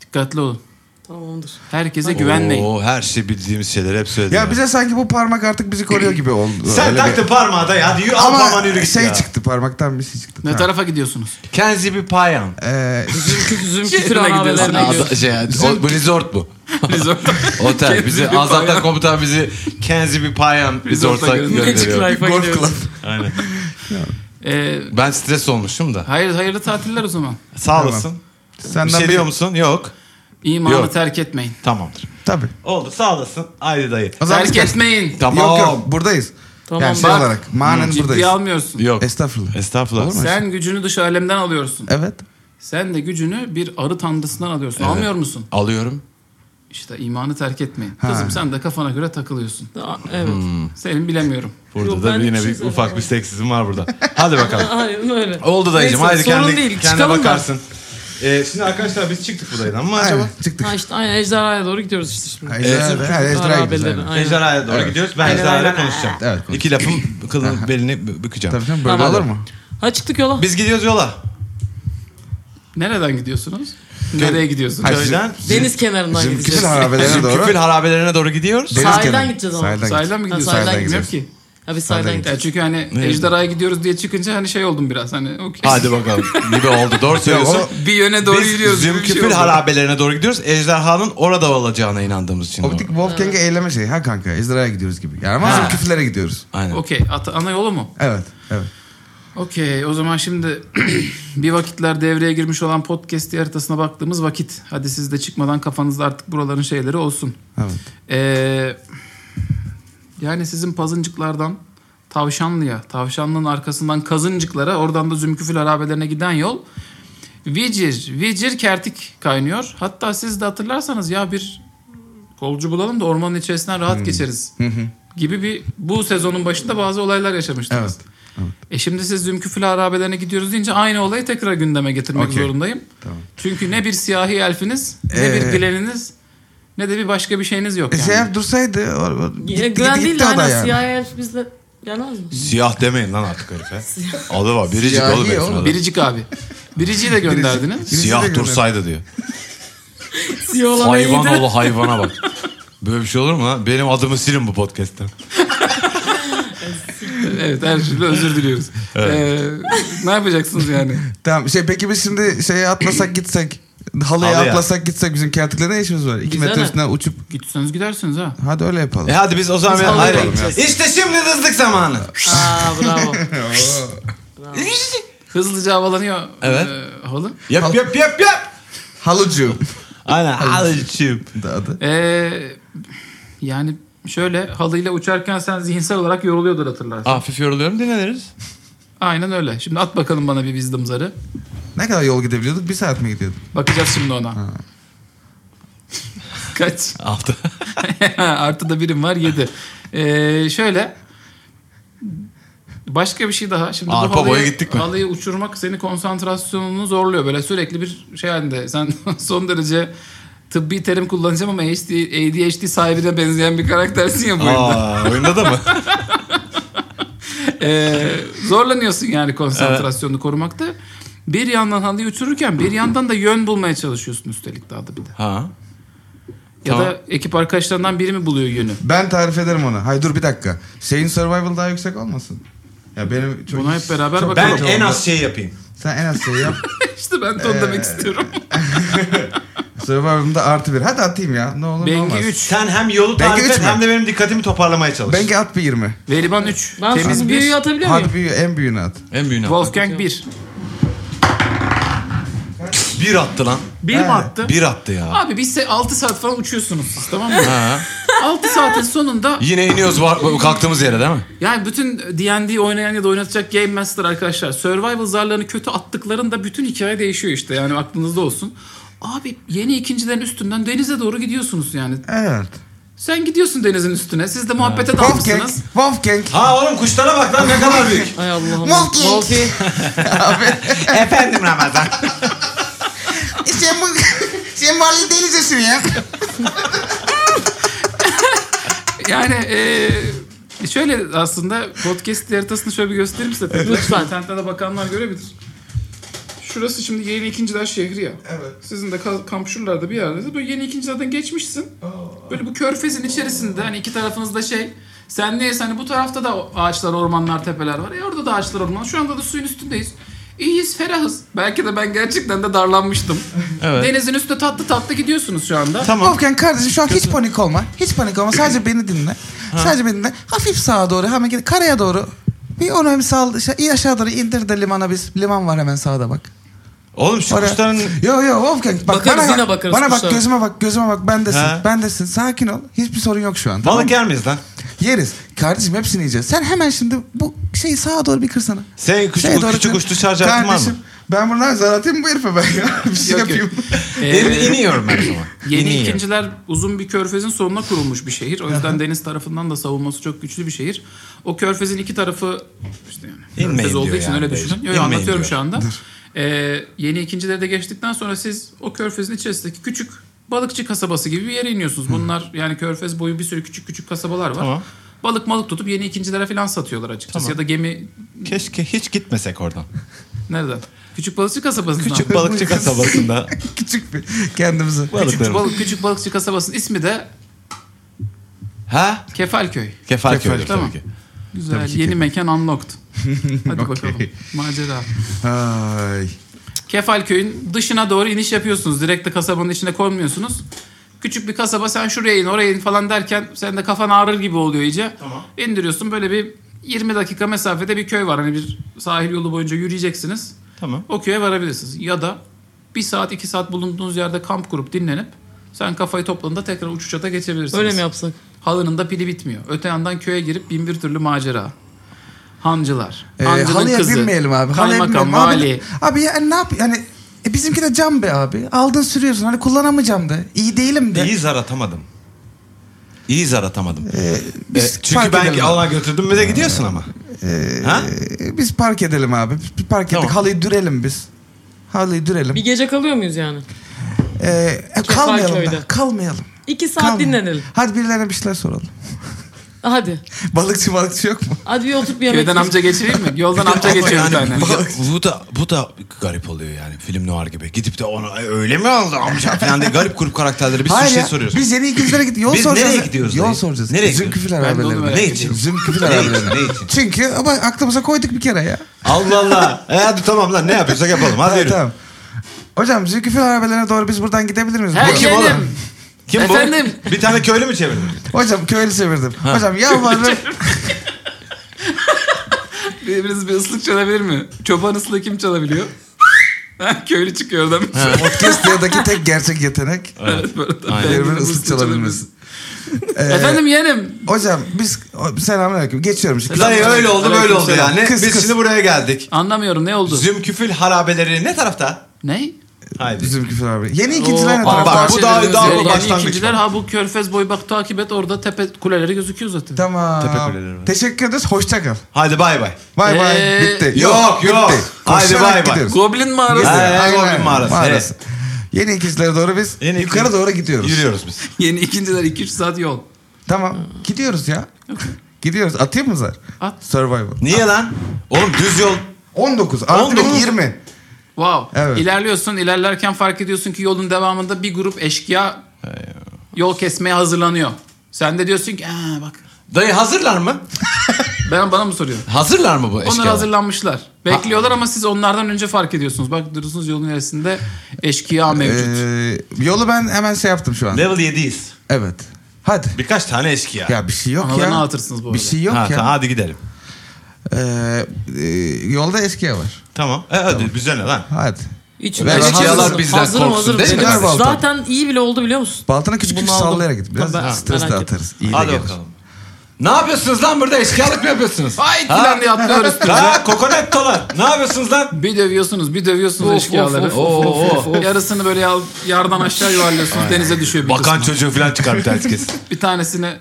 Speaker 1: Dikkatli olun.
Speaker 4: Tamamdır.
Speaker 1: Herkese güvenmeyin.
Speaker 2: Oo, her şey bildiğimiz şeyler hep söyledi.
Speaker 3: Ya bize sanki bu parmak artık bizi koruyor gibi oldu.
Speaker 5: Sen
Speaker 3: Öyle
Speaker 5: taktın
Speaker 3: bir-
Speaker 5: parmağı da ya. Hadi yürü, al
Speaker 3: Ama
Speaker 5: parmağını yürü git
Speaker 3: şey
Speaker 5: ya.
Speaker 3: çıktı parmaktan bir şey çıktı.
Speaker 1: Ne
Speaker 3: Tamam.
Speaker 1: tarafa gidiyorsunuz?
Speaker 2: Kenzi bir payan.
Speaker 3: Ee,
Speaker 4: Zümküf, zümküf
Speaker 1: Şehrine gidiyorsun.
Speaker 4: rahabelerine
Speaker 1: Ada-
Speaker 4: gidiyorsun.
Speaker 2: şey, o, bu resort mu?
Speaker 1: Resort.
Speaker 2: Otel.
Speaker 1: Kenzi
Speaker 2: Bizi
Speaker 1: bir
Speaker 2: Azap'tan
Speaker 1: payan.
Speaker 2: komutan bizi Kenzi bir payan resort'a
Speaker 1: Resort'a gönderiyor.
Speaker 4: Magic
Speaker 2: gönderiyor.
Speaker 4: Life'a gidiyorsun.
Speaker 2: Aynen.
Speaker 1: Ee,
Speaker 2: Ben stres olmuşum da.
Speaker 1: hayır, hayırlı tatiller o zaman.
Speaker 2: Sağ olasın. Bir
Speaker 3: senden
Speaker 2: şey
Speaker 3: bir-
Speaker 2: diyor musun? Yok.
Speaker 1: İmanı
Speaker 2: Yok.
Speaker 1: terk etmeyin.
Speaker 2: Tamamdır.
Speaker 3: Tabii.
Speaker 5: Oldu sağ olasın. Haydi dayı.
Speaker 3: O zaman biz
Speaker 1: Terk
Speaker 3: kaç-
Speaker 1: etmeyin.
Speaker 2: Tamam.
Speaker 3: Yok yok buradayız.
Speaker 4: Tamam,
Speaker 3: yani şey
Speaker 1: bak.
Speaker 3: olarak manen
Speaker 1: Ciddiye
Speaker 3: buradayız.
Speaker 1: almıyorsun.
Speaker 2: Yok.
Speaker 3: Estağfurullah.
Speaker 2: Estağfurullah.
Speaker 3: Olur mu?
Speaker 1: Sen gücünü dış alemden alıyorsun.
Speaker 3: Evet.
Speaker 1: Sen de gücünü bir arı tanrısından alıyorsun. Almıyor musun?
Speaker 2: Alıyorum.
Speaker 1: İşte imanı terk etmeyin.
Speaker 3: Ha.
Speaker 1: Kızım sen de kafana göre takılıyorsun.
Speaker 4: Aa, Evet.
Speaker 1: Senin bilemiyorum.
Speaker 2: Burada
Speaker 4: Yok,
Speaker 2: da
Speaker 4: ben
Speaker 2: yine
Speaker 4: hiçbir
Speaker 2: bir
Speaker 4: şey
Speaker 2: ufak bir seksizm var burada. Hadi bakalım.
Speaker 4: Aynen öyle.
Speaker 2: Oldu dayıcım.
Speaker 4: Neyse,
Speaker 2: Haydi
Speaker 4: sorun
Speaker 2: kendi,
Speaker 4: değil.
Speaker 2: kendine
Speaker 4: Çıkalım da.
Speaker 2: bakarsın. Ee, şimdi arkadaşlar biz çıktık buradan ama acaba?
Speaker 3: Aynen, Çıktık.
Speaker 4: Ha işte aynen ejderhaya doğru gidiyoruz işte şimdi.
Speaker 3: Ejderha- Ha, ejderha gidiyoruz,
Speaker 4: Harabelerine,
Speaker 3: aynen.
Speaker 4: aynen.
Speaker 5: Ejderhaya doğru gidiyoruz. Ben ejderhaya konuşacağım.
Speaker 3: Evet, konuş.
Speaker 2: İki lafım kılın belini bü- bükeceğim.
Speaker 3: Tabii canım böyle
Speaker 4: Tamam.
Speaker 3: olur mu?
Speaker 4: Ha çıktık yola.
Speaker 2: Biz gidiyoruz yola.
Speaker 1: Nereden gidiyorsunuz? Nereye gidiyorsunuz?
Speaker 3: Hayır,
Speaker 2: Köyden
Speaker 4: Deniz kenarından
Speaker 3: Zümküfül
Speaker 4: gideceğiz.
Speaker 3: harabelerine doğru.
Speaker 2: küfül harabelerine doğru gidiyoruz.
Speaker 3: Deniz
Speaker 4: Sahilden
Speaker 3: kenarı.
Speaker 4: gideceğiz ama.
Speaker 3: Sahilden
Speaker 1: Sahilden mi
Speaker 4: Ha,
Speaker 1: gidiyorsunuz?
Speaker 4: sahilden
Speaker 1: Bilmiyorum
Speaker 3: gidiyoruz.
Speaker 1: ki.
Speaker 4: Ha biz sahilden
Speaker 3: Sahilden
Speaker 1: Ya
Speaker 4: gideceğiz.
Speaker 1: çünkü hani ejderhaya gidiyoruz diye çıkınca hani şey oldum biraz hani okey.
Speaker 2: Hadi bakalım gibi oldu. Doğru söylüyorsun.
Speaker 3: o-
Speaker 1: Bir yöne doğru
Speaker 2: Biz
Speaker 1: yürüyoruz. gibi bir şey
Speaker 2: Zümküfül
Speaker 1: oldu.
Speaker 2: harabelerine doğru gidiyoruz. Ejderhanın orada olacağına inandığımız için.
Speaker 3: Optik Wolfgang'e eyleme şeyi. Ha kanka ejderhaya gidiyoruz gibi. Yani ama bizim küfürlere gidiyoruz.
Speaker 2: Aynen.
Speaker 1: Okey. Ata- Ana yolu mu?
Speaker 3: Evet. Evet.
Speaker 1: Okey o zaman şimdi bir vakitler devreye girmiş olan podcast haritasına baktığımız vakit. Hadi siz de çıkmadan kafanızda artık buraların şeyleri olsun.
Speaker 3: Evet.
Speaker 1: Ee, yani sizin pazıncıklardan tavşanlıya, tavşanlının arkasından kazıncıklara, oradan da zümküfül harabelerine giden yol. Vicir, vicir kertik kaynıyor. Hatta siz de hatırlarsanız ya bir kolcu bulalım da ormanın içerisinden
Speaker 3: Hmm.
Speaker 1: rahat geçeriz gibi bir bu sezonun başında bazı olaylar yaşamıştınız.
Speaker 3: Evet,
Speaker 1: E şimdi siz zümküfül harabelerine gidiyoruz deyince aynı olayı tekrar gündeme getirmek
Speaker 3: Okey.
Speaker 1: zorundayım.
Speaker 3: Tamam.
Speaker 1: Çünkü ne bir siyahi elfiniz, ne
Speaker 3: Ee,
Speaker 1: bir gleniniz, ne de bir başka bir şeyiniz yok
Speaker 3: E,
Speaker 1: yani.
Speaker 3: Seher dursaydı. O, o,
Speaker 4: Ya,
Speaker 3: gitti,
Speaker 4: Güven
Speaker 3: gitti,
Speaker 4: değil de
Speaker 3: gitti o da
Speaker 4: aynen
Speaker 3: yani.
Speaker 4: siyah elf bizle gelmez mi?
Speaker 2: Siyah demeyin lan artık herife. Adı var. Biricik
Speaker 3: Siyahi
Speaker 2: oğlum herifin
Speaker 3: oğlum.
Speaker 2: adı.
Speaker 1: Biricik abi. Biricik'i de gönderdiniz.
Speaker 3: Birisi de
Speaker 2: Siyah
Speaker 3: görüyorum.
Speaker 2: dursaydı diyor.
Speaker 4: Siyah olan
Speaker 2: Hayvan
Speaker 4: iyiydi.
Speaker 2: oğlu hayvana bak. Böyle bir şey olur mu lan? Benim adımı silin bu podcast'ten.
Speaker 1: evet her türlü özür diliyoruz. Ee, ne yapacaksınız yani?
Speaker 3: Tamam şey peki biz şimdi şeye atlasak gitsek. Halıya
Speaker 2: Halıya.
Speaker 3: atlasak gitsek bizim kertikle ne işimiz var? 2
Speaker 4: Güzel
Speaker 3: metre
Speaker 4: ha.
Speaker 3: üstüne uçup
Speaker 1: Gitseniz gidersiniz ha.
Speaker 3: hadi öyle yapalım.
Speaker 2: E hadi biz o zaman...
Speaker 4: Biz
Speaker 2: bir-
Speaker 4: halıya
Speaker 2: Hayır.
Speaker 4: gideceğiz.
Speaker 2: İşte şimdi hızlık zamanı.
Speaker 4: Aa bravo.
Speaker 1: Hızlıca havalanıyor
Speaker 2: Evet.
Speaker 1: e, halı.
Speaker 2: Yap yap yap yap.
Speaker 3: Halıcığım.
Speaker 2: Aynen halıcım.
Speaker 3: Da adı.
Speaker 1: Ee, yani şöyle halıyla uçarken sen zihinsel olarak yoruluyordur hatırlarsın.
Speaker 2: Hafif yoruluyorum dinleniriz.
Speaker 1: Aynen öyle. Şimdi at bakalım bana bir wisdom zarı.
Speaker 3: Ne kadar yol gidebiliyorduk? Bir saat mi gidiyorduk?
Speaker 1: Bakacağız şimdi ona. Kaç?
Speaker 2: Hafta.
Speaker 1: Artı da birim var 7. Ee, şöyle. Başka bir şey daha. Şimdi
Speaker 2: Arpa
Speaker 1: bu halıyı,
Speaker 2: boya gittik mi?
Speaker 1: halıyı uçurmak seni konsantrasyonunu zorluyor. Böyle sürekli bir şey halinde. Sen son derece tıbbi terim kullanacağım ama ADHD, ADHD sahibine benzeyen bir karaktersin ya bu oyunda.
Speaker 2: Aa, oyunda da mı?
Speaker 1: Ee, zorlanıyorsun yani konsantrasyonunu korumakta. Bir yandan halıyı uçururken bir yandan da yön bulmaya çalışıyorsun üstelik daha da bir de.
Speaker 2: ha.
Speaker 1: Ya
Speaker 2: Tamam.
Speaker 1: da ekip arkadaşlarından biri mi buluyor yönü?
Speaker 3: Ben tarif ederim onu. Hayır dur bir dakika. Şeyin survival daha yüksek olmasın. Ya benim çok...
Speaker 1: Buna hep beraber
Speaker 3: çok-
Speaker 1: bakalım.
Speaker 5: Ben en az şey yapayım.
Speaker 3: Sen en az şeyi yap.
Speaker 1: İşte ben de onu
Speaker 2: Ee,
Speaker 1: demek istiyorum.
Speaker 3: Survival'ımda artı bir. Hadi atayım ya. Ne olur ne
Speaker 1: Bengi
Speaker 3: olmaz.
Speaker 1: 3.
Speaker 5: Sen hem yolu
Speaker 3: Belki
Speaker 5: tarif
Speaker 3: üç
Speaker 5: et
Speaker 3: mü?
Speaker 5: hem de benim dikkatimi toparlamaya çalış.
Speaker 3: Bengi at bir 20.
Speaker 1: Veliban 3.
Speaker 4: Ben
Speaker 1: Temiz
Speaker 4: sizi
Speaker 1: 1.
Speaker 4: büyüğü atabiliyor muyum?
Speaker 3: Hadi büyüğü, en büyüğünü at.
Speaker 2: En büyüğünü attı.
Speaker 1: Wolfgang 1.
Speaker 2: Bir attı lan.
Speaker 1: 1 mi attı?
Speaker 2: Bir attı ya.
Speaker 1: Abi biz 6 saat falan uçuyorsunuz siz tamam mı?
Speaker 2: Ha.
Speaker 1: 6 saatin sonunda
Speaker 2: Yine iniyoruz var, kalktığımız yere değil mi?
Speaker 1: yani bütün D&D oynayan ya da oynatacak Game Master arkadaşlar survival zarlarını kötü attıklarında bütün hikaye değişiyor işte yani aklınızda olsun. Abi yeni ikincilerin üstünden denize doğru gidiyorsunuz yani.
Speaker 3: Evet.
Speaker 1: Sen gidiyorsun denizin üstüne. Siz de muhabbete
Speaker 3: Wolfgang.
Speaker 1: dalmışsınız.
Speaker 3: Wolfgang.
Speaker 5: Ha oğlum kuşlara bak lan ne kadar büyük.
Speaker 4: Ay Allah'ım.
Speaker 3: Walking.
Speaker 4: Walking.
Speaker 2: Efendim Ramazan.
Speaker 3: E sen bu... sen bu halde denize sürüyorsun.
Speaker 1: Yani eee, şöyle aslında podcast haritasını şöyle bir göstereyim size.
Speaker 4: Lütfen.
Speaker 1: İnternette de bakanlar görebilir. Şurası şimdi yeni ikinciler şehri ya. Evet. Sizin de ka- kamp şuralarda bir yerde. Böyle yeni ikincilerden geçmişsin. Böyle bu körfezin içerisinde hani iki tarafınızda şey. Sen neyse hani bu tarafta da ağaçlar, ormanlar, tepeler var. E orada da ağaçlar, orman. Şu anda da suyun üstündeyiz. İyiyiz, ferahız. Belki de ben gerçekten de darlanmıştım. Denizin üstünde tatlı tatlı gidiyorsunuz şu anda.
Speaker 3: Tamam. kardeşim şu an hiç panik olma. Hiç panik olma. Sadece beni dinle. Sadece beni dinle. Hafif sağa doğru hemen gidin. Karaya doğru. Bir onu hem sağ, iyi aşağı doğru indir de limana biz. Liman var hemen sağda bak.
Speaker 2: Oğlum şu
Speaker 3: Oraya-
Speaker 2: kuşların
Speaker 3: Yo yo Wolfgang. Bak,
Speaker 4: Bakarız,
Speaker 3: bana,
Speaker 4: yine bakarız
Speaker 3: Bana bak
Speaker 4: kuşlara.
Speaker 3: gözüme bak gözüme bak bendesin.
Speaker 2: He.
Speaker 3: Bendesin. Sakin ol. Hiçbir sorun yok şu an. tamam mı?
Speaker 2: balık yer miyiz lan?
Speaker 3: Yeriz. Kardeşim hepsini yiyeceğiz. Sen hemen şimdi bu şeyi sağa doğru bir kırsana.
Speaker 2: Sen kuş,
Speaker 3: Şeye doğru
Speaker 2: küçük
Speaker 3: kır.
Speaker 2: uçlu şarj yaptın var mı?
Speaker 3: Kardeşim ben bundan zar atayım bu herife ben ya. Bir şey
Speaker 1: Yok, yok.
Speaker 3: yapayım.
Speaker 1: Eee,
Speaker 2: İn, Ee, iniyorum ben o zaman.
Speaker 1: Yeni
Speaker 2: İniyorum.
Speaker 1: ikinciler uzun bir körfezin sonuna kurulmuş bir şehir. O yüzden deniz tarafından da savunması çok güçlü bir şehir. O körfezin iki tarafı işte yani
Speaker 2: İnmeyin
Speaker 1: körfez olduğu
Speaker 2: diyor
Speaker 1: için
Speaker 2: yani
Speaker 1: öyle
Speaker 2: Beyciğim.
Speaker 1: düşünün. Yo, yo,
Speaker 2: İnmeyin
Speaker 1: anlatıyorum
Speaker 2: diyor.
Speaker 1: şu anda. Ee, yeni ikincileri de geçtikten sonra siz o körfezin içerisindeki küçük balıkçı kasabası gibi bir yere iniyorsunuz. Bunlar yani körfez boyu bir sürü küçük küçük kasabalar var.
Speaker 2: Tamam.
Speaker 1: Balık malık tutup yeni ikincilere falan satıyorlar açıkçası.
Speaker 2: Tamam.
Speaker 1: Ya da gemi
Speaker 2: Keşke hiç gitmesek oradan.
Speaker 1: nereden? Küçük balıkçı kasabasından.
Speaker 2: Küçük balıkçı kasabasında.
Speaker 3: Küçük bir kendimizi.
Speaker 1: küçük,
Speaker 2: Balıklarım.
Speaker 1: balık, küçük balıkçı kasabasının ismi de
Speaker 2: Ha?
Speaker 1: Kefalköy.
Speaker 2: Kefal köyü
Speaker 1: Kefal,
Speaker 2: tabii
Speaker 1: tamam.
Speaker 2: ki.
Speaker 1: Güzel.
Speaker 3: Tabii ki
Speaker 1: Yeni mekan unlocked. Hadi
Speaker 3: Okey.
Speaker 1: bakalım. Macera.
Speaker 3: Ay.
Speaker 1: Kefalköy'ün dışına doğru iniş yapıyorsunuz. Direkt de kasabanın içine konmuyorsunuz. Küçük bir kasaba sen şuraya in oraya in falan derken sen de kafan ağrır gibi oluyor iyice. İndiriyorsun böyle bir 20 dakika mesafede bir köy var. Hani bir sahil yolu boyunca yürüyeceksiniz.
Speaker 2: Tamam.
Speaker 1: O köye varabilirsiniz. Ya da bir saat iki saat bulunduğunuz yerde kamp kurup dinlenip sen kafayı topladığında tekrar uçuşata geçebilirsiniz.
Speaker 4: Öyle mi yapsak?
Speaker 1: Halının da pili bitmiyor. Öte yandan köye girip bin bir türlü macera. Hancılar.
Speaker 3: Ee,
Speaker 1: Hancının
Speaker 3: halıya
Speaker 1: kızı.
Speaker 3: binmeyelim abi. Halıya
Speaker 1: Kaymakam,
Speaker 3: binmeyelim. Abi,
Speaker 1: vali.
Speaker 3: abi ya ne yap? Yani e, bizimki de cam be abi. Aldın sürüyorsun. Hani kullanamayacağım de. İyi değilim de. Ee,
Speaker 2: İyi zar atamadım. İyi zar atamadım.
Speaker 3: biz
Speaker 2: E, çünkü
Speaker 3: fark
Speaker 2: ben
Speaker 3: edelim.
Speaker 2: alana götürdüm ve de gidiyorsun ama. ha?
Speaker 3: Ee, biz park edelim abi. Biz park ettik.
Speaker 2: Tamam.
Speaker 3: Halıyı dürelim biz. Halıyı dürelim.
Speaker 4: Bir gece kalıyor muyuz yani?
Speaker 3: Ee, e, kalmayalım
Speaker 4: Kefalköy'de.
Speaker 3: da. Kalmayalım.
Speaker 4: İki saat
Speaker 3: Kalmayalım.
Speaker 4: dinlenelim.
Speaker 3: Hadi birilerine bir şeyler soralım.
Speaker 4: Hadi.
Speaker 3: Balıkçı balıkçı yok mu?
Speaker 4: Hadi bir oturup bir yemek
Speaker 1: Köyden
Speaker 4: yiyelim.
Speaker 1: amca geçireyim mi? Yoldan amca
Speaker 2: Ama
Speaker 1: geçiyor bir
Speaker 2: yani
Speaker 1: tane.
Speaker 2: bu, da- bu da bu da garip oluyor yani film noir gibi. Gidip de ona "E, öyle mi oldu amca falan diye garip grup karakterleri bir sürü şey
Speaker 3: ya.
Speaker 2: soruyoruz.
Speaker 3: Biz yeni ikizlere gittik. Yol
Speaker 2: Biz
Speaker 3: soracağız.
Speaker 2: nereye gidiyoruz
Speaker 3: Yol
Speaker 2: dayı?
Speaker 3: soracağız.
Speaker 2: Nereye gidiyoruz?
Speaker 3: Zümküfül
Speaker 1: Ben de onu
Speaker 3: arabelerine.
Speaker 1: merak
Speaker 2: Ne
Speaker 1: ediyorum.
Speaker 2: için?
Speaker 3: Zümküfül
Speaker 2: Ne için?
Speaker 3: arabelerine.
Speaker 2: Ne için?
Speaker 3: Çünkü ama aklımıza koyduk bir kere ya.
Speaker 2: Allah Allah. E hadi tamam lan ne yapıyorsak yapalım. Hadi
Speaker 3: Evet,
Speaker 2: yürü.
Speaker 3: tamam. Hocam Zülküfil arabelerine doğru biz buradan gidebilir miyiz?
Speaker 1: Her
Speaker 3: Hocam-
Speaker 2: kim oğlum?
Speaker 1: yerim.
Speaker 2: Kim
Speaker 1: Efendim?
Speaker 2: bu? Bir tane köylü mü çevirdin?
Speaker 3: Hocam köylü çevirdim. Hocam yalvarırım.
Speaker 1: Biriniz bir ıslık çalabilir mi? Çoban ıslığı kim çalabiliyor? Ha, Köylü çıkıyor oradan.
Speaker 3: Podcast'taki tek gerçek yetenek
Speaker 1: Evet, bu arada.
Speaker 2: Aynen.
Speaker 1: Birinin
Speaker 3: birbirinin ıslık çalabilmesi. Ee,
Speaker 1: Efendim yerim.
Speaker 3: Hocam biz selamünaleyküm. Geçiyorum şimdi.
Speaker 2: Dayı öyle oldu böyle oldu
Speaker 3: Selam.
Speaker 2: yani.
Speaker 3: Kız,
Speaker 2: Biz
Speaker 3: kız.
Speaker 2: şimdi buraya geldik.
Speaker 1: Anlamıyorum ne oldu?
Speaker 2: Zümküfül harabeleri ne tarafta?
Speaker 1: Ne?
Speaker 2: Haydi.
Speaker 3: Zülküfil arabeleri. Yeni ikinciler ne
Speaker 2: bak,
Speaker 3: tarafta?
Speaker 2: bu daha-
Speaker 1: Bahçeleriniz
Speaker 2: daha
Speaker 1: yeri,
Speaker 2: bu
Speaker 1: yeni
Speaker 2: başlangıç
Speaker 1: ikinciler
Speaker 2: bak.
Speaker 1: ha bu körfez boyu bak takip et orada tepe kuleleri gözüküyor zaten.
Speaker 2: Tepe
Speaker 3: Tamam.
Speaker 2: kuleleri var.
Speaker 3: Teşekkür ederiz. Hoşça kal.
Speaker 2: Haydi bay bay.
Speaker 3: Bay bay.
Speaker 1: Ee,
Speaker 3: Bitti.
Speaker 2: Yok, yok. Haydi
Speaker 3: Koşarak
Speaker 2: bay bay.
Speaker 3: gidiyoruz.
Speaker 1: Goblin mağarası.
Speaker 2: Ha,
Speaker 3: Aynen,
Speaker 2: Goblin
Speaker 3: aynen.
Speaker 2: mağarası,
Speaker 3: Mağarası. Yeni ikizlere doğru biz
Speaker 2: Yeni
Speaker 3: yukarı
Speaker 2: ikinciler-
Speaker 3: doğru gidiyoruz.
Speaker 2: Yürüyoruz biz.
Speaker 1: Yeni ikinciler 2-3 saat yol.
Speaker 3: Tamam. Gidiyoruz ya. gidiyoruz. Atayım mı zar?
Speaker 1: At.
Speaker 3: Survival.
Speaker 2: Niye lan? Oğlum düz yol.
Speaker 3: 19 artı
Speaker 2: 19.
Speaker 3: 20.
Speaker 1: Wow.
Speaker 3: Evet.
Speaker 1: İlerliyorsun, ilerlerken fark ediyorsun ki yolun devamında bir grup eşkıya yol kesmeye hazırlanıyor. Sen de diyorsun ki, "Aa bak."
Speaker 2: Dayı hazırlar mı?
Speaker 1: Ben bana mı soruyor?
Speaker 2: Hazırlar mı bu
Speaker 1: Onlar
Speaker 2: eşkıyalar?
Speaker 1: hazırlanmışlar. Bekliyorlar ama siz onlardan önce fark ediyorsunuz. Bak durursunuz yolun neresinde eşkıya mevcut.
Speaker 3: Ee, yolu ben hemen şey yaptım şu an.
Speaker 2: Level 7'yiz.
Speaker 3: Evet. Hadi.
Speaker 2: Birkaç tane eşkıya.
Speaker 3: Ya bir şey yok
Speaker 1: Analarını
Speaker 3: ya.
Speaker 1: atırsınız bu
Speaker 3: Bir
Speaker 1: arada.
Speaker 3: şey yok
Speaker 2: ha,
Speaker 3: ya.
Speaker 2: tamam, hadi gidelim.
Speaker 3: Ee, e, yolda eskiye var.
Speaker 2: Tamam. E, hadi bize ne lan?
Speaker 3: Hadi.
Speaker 4: İç-
Speaker 3: Ben-
Speaker 4: hazırım,
Speaker 2: bizden
Speaker 4: hazırım,
Speaker 2: korksun
Speaker 4: hazırım.
Speaker 2: değil mi?
Speaker 4: Dedim,
Speaker 3: Ver
Speaker 4: Zaten iyi bile oldu biliyor musun?
Speaker 3: Baltana küçük küçük
Speaker 4: Bunu aldım.
Speaker 3: sallayarak git. Biraz
Speaker 4: Tabii,
Speaker 3: stres de
Speaker 4: merak etme.
Speaker 3: atarız. İyi de
Speaker 2: hadi
Speaker 3: gelir.
Speaker 2: bakalım.
Speaker 5: Ne yapıyorsunuz lan burada eşkıyalık mı yapıyorsunuz?
Speaker 1: Ay falan diye atlıyor üstüne.
Speaker 5: Ha kokonat dolan. Ne yapıyorsunuz lan?
Speaker 1: Bir dövüyorsunuz, bir dövüyorsunuz
Speaker 4: Of,
Speaker 1: eşkıyaları.
Speaker 4: of,
Speaker 5: of, of, of, of.
Speaker 1: Yarısını böyle yal- yardan aşağı yuvarlıyorsunuz. Denize düşüyor bir
Speaker 5: Bakan
Speaker 1: kısmı.
Speaker 5: çocuğu falan çıkar bir tanesi kesin.
Speaker 1: Bir tanesini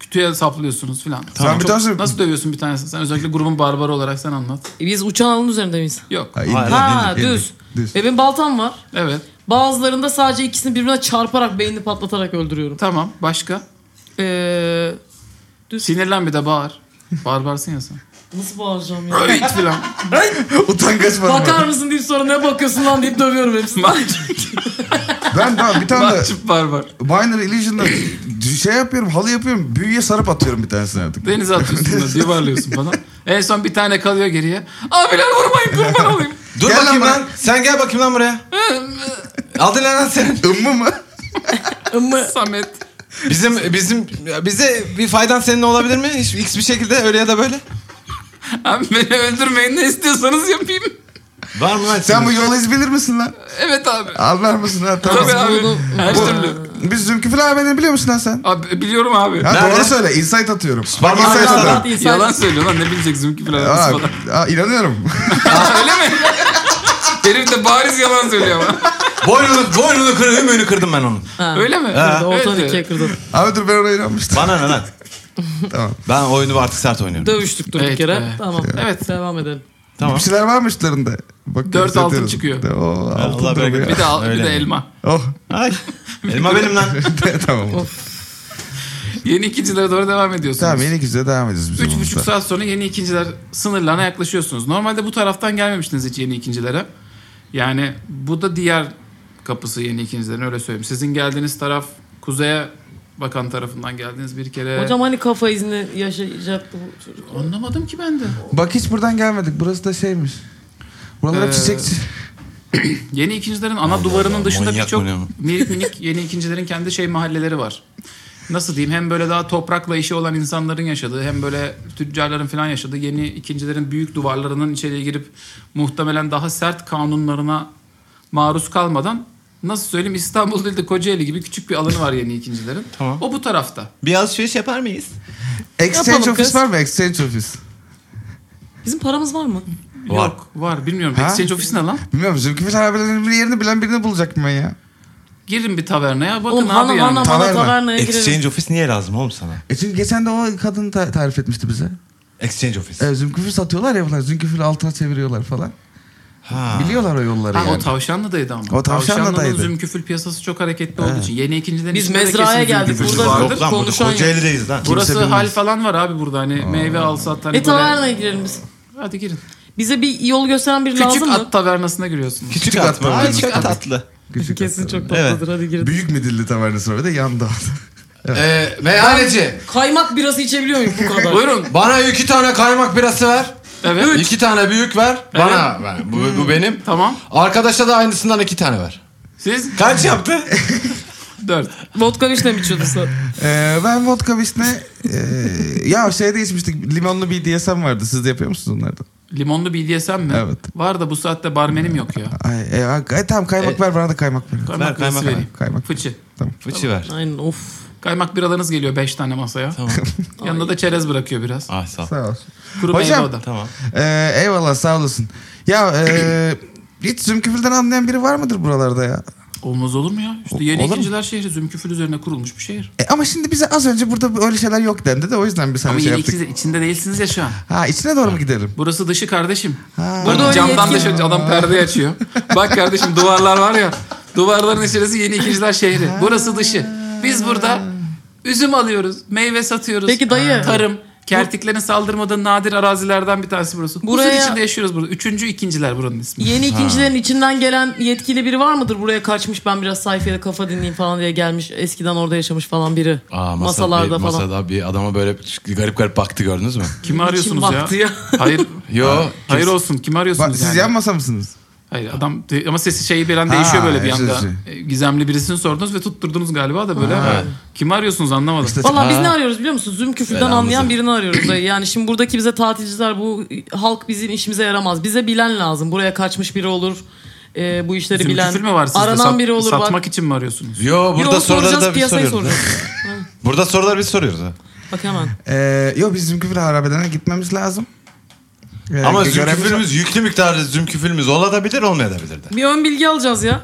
Speaker 1: kütüğe saplıyorsunuz filan.
Speaker 3: Tamam.
Speaker 1: Çok-
Speaker 3: bir tanesi-
Speaker 1: Nasıl dövüyorsun bir tanesini? Sen özellikle grubun barbarı olarak sen anlat.
Speaker 4: E, biz uçan alın üzerinde miyiz?
Speaker 1: Yok.
Speaker 3: Ha, indi,
Speaker 4: Ha
Speaker 3: indi, indi.
Speaker 4: düz. Ve benim baltam var.
Speaker 1: Evet.
Speaker 4: Bazılarında sadece ikisini birbirine çarparak beynini patlatarak öldürüyorum.
Speaker 1: Tamam. Başka?
Speaker 4: Ee,
Speaker 1: Sinirlen bir de bağır. Barbarsın ya sen.
Speaker 4: nasıl bağıracağım ya?
Speaker 1: Öğüt filan.
Speaker 3: Utangaç var.
Speaker 4: Bakar mısın deyip sonra ne bakıyorsun lan deyip dövüyorum hepsini.
Speaker 3: Ben daha bir tane de
Speaker 1: Mahcup barbar.
Speaker 3: Binary Illusion'da şey yapıyorum, halı yapıyorum. Büyüye sarıp atıyorum bir tanesini artık.
Speaker 1: Denize atıyorsun da yuvarlıyorsun falan. En son bir tane kalıyor geriye. Abiler vurmayın kurban olayım.
Speaker 5: Dur
Speaker 3: Gel
Speaker 5: bakayım
Speaker 3: lan
Speaker 5: lan. Sen gel bakayım lan buraya. Aldın lan sen.
Speaker 3: Ümmü mı?
Speaker 4: Ama
Speaker 1: Samet.
Speaker 5: Bizim bizim bize bir faydan senin olabilir mi? Hiç X bir şekilde öyle ya da böyle.
Speaker 1: Abi beni öldürmeyin ne istiyorsanız yapayım.
Speaker 5: Var mı lan?
Speaker 3: Sen bu yolu izbilir misin lan?
Speaker 1: Evet abi.
Speaker 3: Anlar mısın lan? Tamam.
Speaker 1: Tabii abi.
Speaker 4: bunu-
Speaker 1: Her
Speaker 3: Bu-
Speaker 1: türlü.
Speaker 3: Biz Zümkü falan haberini biliyor musun lan sen?
Speaker 1: Abi biliyorum abi.
Speaker 3: Ha,
Speaker 5: Nerede?
Speaker 3: doğru söyle. Insight atıyorum.
Speaker 5: Bak,
Speaker 3: Bak, insight
Speaker 5: insight
Speaker 3: atıyorum.
Speaker 5: adam.
Speaker 4: insan-
Speaker 1: Yalan söylüyor lan ne bilecek Zümkü falan.
Speaker 3: Aa,
Speaker 1: falan.
Speaker 3: aa, inanıyorum.
Speaker 1: Öyle mi? Herif de bariz yalan söylüyor ama.
Speaker 5: Boynunu, boynunu kır, ümüğünü kırdım ben onun.
Speaker 4: Ha.
Speaker 1: Öyle mi?
Speaker 4: Kırdı, Ortadan
Speaker 1: Evet,
Speaker 4: ikiye
Speaker 1: evet.
Speaker 4: kırdı.
Speaker 3: Abi dur ben ona inanmıştım.
Speaker 5: Bana ne lan?
Speaker 3: Tamam.
Speaker 5: Ben oyunu artık sert oynuyorum.
Speaker 4: Dövüştük durduk
Speaker 1: Evet,
Speaker 4: yere.
Speaker 1: evet.
Speaker 4: Tamam.
Speaker 1: Evet.
Speaker 4: Evet. Devam edelim.
Speaker 5: Tamam.
Speaker 3: Bir şeyler varmış üstlerinde. Bak,
Speaker 1: Dört altın
Speaker 3: atıyorum.
Speaker 1: çıkıyor.
Speaker 3: Oo, altın
Speaker 5: Allah bereket
Speaker 1: Bir
Speaker 3: duruyor.
Speaker 1: de, al- bir
Speaker 5: Öyle
Speaker 1: de
Speaker 5: mi?
Speaker 1: elma.
Speaker 3: Oh.
Speaker 5: Ay. Elma benim lan.
Speaker 3: tamam.
Speaker 1: Yeni ikincilere doğru devam ediyorsunuz.
Speaker 3: Tamam yeni güzel devam ediyoruz. biz
Speaker 1: Üç
Speaker 3: bu
Speaker 1: buçuk
Speaker 3: maçta.
Speaker 1: saat sonra yeni ikinciler sınırlarına yaklaşıyorsunuz. Normalde bu taraftan gelmemiştiniz hiç yeni ikincilere. Yani bu da diğer kapısı yeni ikincilerin öyle söyleyeyim. Sizin geldiğiniz taraf kuzeye bakan tarafından geldiniz bir kere.
Speaker 4: Hocam hani kafa izni yaşayacaktı bu çocuk.
Speaker 1: Anlamadım ki ben de.
Speaker 3: Bak hiç buradan gelmedik. Burası da şeymiş. Buralar
Speaker 1: Ee,
Speaker 3: hep çiçekçi.
Speaker 1: Yeni ikincilerin ana duvarının
Speaker 5: Allah,
Speaker 1: dışında
Speaker 5: manyak
Speaker 1: birçok
Speaker 5: bu ne oğlum?
Speaker 1: minik minik yeni ikincilerin kendi şey mahalleleri var. Nasıl diyeyim hem böyle daha toprakla işi olan insanların yaşadığı hem böyle tüccarların falan yaşadığı yeni ikincilerin büyük duvarlarının içeriye girip muhtemelen daha sert kanunlarına maruz kalmadan nasıl söyleyeyim İstanbul değil de Kocaeli gibi küçük bir alanı var yeni ikincilerin.
Speaker 5: Tamam.
Speaker 1: O bu tarafta.
Speaker 5: Bir alışveriş yapar mıyız?
Speaker 3: Exchange
Speaker 4: yapalım
Speaker 3: office
Speaker 4: kız.
Speaker 3: var mı? Exchange office.
Speaker 4: Bizim paramız var mı?
Speaker 5: Var.
Speaker 1: Yok var bilmiyorum.
Speaker 3: Ha?
Speaker 1: Exchange ofisi ne lan?
Speaker 3: Bilmiyorum Zülkü Fil haberlerinin bir yerini bilen birini bulacak mı ben ya?
Speaker 1: Girin bir tavernaya bakın
Speaker 4: Oğlum
Speaker 1: abi
Speaker 4: hanım
Speaker 1: yani.
Speaker 4: hanım bana
Speaker 3: Taverna.
Speaker 4: tavernaya girelim.
Speaker 5: Exchange ofis niye lazım oğlum sana?
Speaker 3: E çünkü geçen de o kadın ta- tarif etmişti bize.
Speaker 5: Exchange ofis.
Speaker 3: E, zümküfür satıyorlar ya bunlar. Zümküfürü altına çeviriyorlar falan.
Speaker 5: Ha.
Speaker 3: Biliyorlar o yolları
Speaker 1: Ha,
Speaker 3: yani.
Speaker 1: O tavşanlıdaydı ama.
Speaker 3: O Tavşanlı'daydı.
Speaker 1: Tavşanlı'nın zümküfül piyasası çok hareketli olduğu için. Yeni ikinciden
Speaker 4: Biz
Speaker 1: içinde de
Speaker 4: mezraya
Speaker 1: kesin
Speaker 4: geldik.
Speaker 1: zümküfülcü
Speaker 4: Burada
Speaker 1: vardır.
Speaker 5: Yok lan burada
Speaker 4: konuşan yok.
Speaker 5: Kocaeli'deyiz lan.
Speaker 1: Burası
Speaker 3: bilmez.
Speaker 1: hal falan var abi burada hani meyve al sat hani
Speaker 4: E
Speaker 1: böyle-
Speaker 4: tavernaya girelim biz.
Speaker 1: Hadi girin.
Speaker 4: Bize bir yol gösteren biri
Speaker 1: Küçük
Speaker 4: lazım mı?
Speaker 1: at tavernasına giriyorsunuz.
Speaker 5: Küçük
Speaker 3: at
Speaker 5: atma.
Speaker 3: var.
Speaker 5: Ay, Küçük at atlı.
Speaker 3: Küçük
Speaker 4: Kesin
Speaker 3: hastalar.
Speaker 4: çok tatlıdır hadi girelim.
Speaker 3: Büyük midilli tavernası orada yanda.
Speaker 5: Ee, meyhaneci.
Speaker 4: Kaymak birası içebiliyor muyum bu kadar?
Speaker 1: Buyurun.
Speaker 5: Bana iki tane kaymak birası ver.
Speaker 1: Evet.
Speaker 5: İki tane büyük ver. Bana ver. Bu, bu benim.
Speaker 1: Tamam.
Speaker 5: Arkadaşa da aynısından iki tane ver.
Speaker 1: Siz
Speaker 5: Kaç yaptı?
Speaker 1: dört.
Speaker 4: Vodka vişne mi içiyordun sen?
Speaker 3: Ee, ben vodka vişne... ee, ya şeyde içmiştik. Limonlu bir DSM vardı. Siz de yapıyor musunuz onlardan?
Speaker 1: Limonlu BDSM mi?
Speaker 3: Evet.
Speaker 1: Var da bu saatte barmenim yok ya.
Speaker 3: Ay, e, ha- ay, tamam kaymak ver bana da kaymak ver.
Speaker 1: Kaymak
Speaker 5: Ver,
Speaker 1: birası
Speaker 5: kaymak,
Speaker 1: vereyim.
Speaker 3: Kaymak.
Speaker 1: Fıçı.
Speaker 5: Fıçı ver.
Speaker 4: Aynen of.
Speaker 1: Kaymak biralarınız geliyor beş tane masaya.
Speaker 5: Tamam.
Speaker 1: Yanında da çerez bırakıyor biraz.
Speaker 5: Ah sağ ol.
Speaker 3: Sağ olsun.
Speaker 1: Kuru
Speaker 3: Hocam.
Speaker 1: meyve o da.
Speaker 5: Tamam.
Speaker 3: Ee, eyvallah sağ olasın. Ya ee, hiç zümküfülden anlayan biri var mıdır buralarda ya?
Speaker 1: Olmaz olur mu ya? İşte yeni
Speaker 3: Olur mu?
Speaker 1: ikinciler şehri Zümküfül üzerine kurulmuş bir şehir.
Speaker 3: E ama şimdi bize az önce burada öyle şeyler yok dendi de o yüzden biz
Speaker 1: Ama
Speaker 3: hani şey
Speaker 1: yeni
Speaker 3: yaptık.
Speaker 1: ikinciler içinde değilsiniz ya şu an.
Speaker 3: Ha içine doğru mu gidelim?
Speaker 1: Burası dışı kardeşim.
Speaker 3: Ha.
Speaker 1: Bak
Speaker 4: Burada öyle
Speaker 1: camdan
Speaker 4: yetkin-
Speaker 1: dışarı adam perdeyi açıyor. Bak kardeşim duvarlar var ya. Duvarların içerisi yeni ikinciler şehri. Burası dışı. Biz burada üzüm alıyoruz, meyve satıyoruz.
Speaker 4: Peki dayı.
Speaker 1: Tarım. Kertiklerin saldırmadığı nadir arazilerden bir tanesi burası. Buraya...
Speaker 4: Buraya-
Speaker 1: Huzur içinde yaşıyoruz burada. Üçüncü ikinciler buranın ismi.
Speaker 4: Yeni ikincilerin içinden gelen yetkili biri var mıdır? Buraya kaçmış ben biraz sayfaya kafa dinleyeyim falan diye gelmiş. Eskiden orada yaşamış falan biri.
Speaker 5: Aa, masada
Speaker 4: Masalarda
Speaker 5: Ah, bir,
Speaker 4: falan.
Speaker 5: Masada bir adama böyle garip garip baktı gördünüz mü?
Speaker 1: Kimi arıyorsunuz
Speaker 4: Kim
Speaker 1: ya?
Speaker 4: baktı ya?
Speaker 1: Hayır.
Speaker 5: Yo.
Speaker 1: Hayır olsun. Kimi arıyorsunuz
Speaker 3: Bak, siz
Speaker 1: yani?
Speaker 3: yan masa mısınız?
Speaker 1: Hayır adam ama sesi şeyi bir an
Speaker 3: Ha,
Speaker 1: değişiyor böyle bir
Speaker 3: evet,
Speaker 1: anda. E,
Speaker 3: evet,
Speaker 1: Gizemli birisini sordunuz ve tutturdunuz galiba da böyle. Kimi arıyorsunuz anlamadım.
Speaker 3: İşte-
Speaker 4: Valla biz
Speaker 5: Ha.
Speaker 4: ne arıyoruz biliyor musun? Züm küfürden
Speaker 5: Selamımızı.
Speaker 4: anlayan birini arıyoruz. dayı. Yani şimdi buradaki bize tatilciler bu halk bizim işimize yaramaz. Bize bilen lazım. Buraya kaçmış biri olur. e, bu işleri
Speaker 1: Zümküfül
Speaker 4: bilen.
Speaker 1: mü var sizde?
Speaker 4: Aranan
Speaker 1: Sat-
Speaker 4: biri olur
Speaker 1: Satmak
Speaker 4: bak.
Speaker 1: için mi arıyorsunuz?
Speaker 5: Yo burada
Speaker 4: Yo,
Speaker 5: soruları
Speaker 4: soracağız,
Speaker 5: da biz
Speaker 4: piyasayı
Speaker 5: soruyoruz. burada soruları biz soruyoruz. ha.
Speaker 4: Bak hemen.
Speaker 3: Ee, yok biz Zümküfül Harabeden'e gitmemiz lazım. Ee,
Speaker 2: Ama
Speaker 3: gö- görevimiz var.
Speaker 2: zümküfülümüz yüklü miktarda zümküfülümüz olabilir olmayabilir de.
Speaker 4: Bir ön bilgi alacağız ya.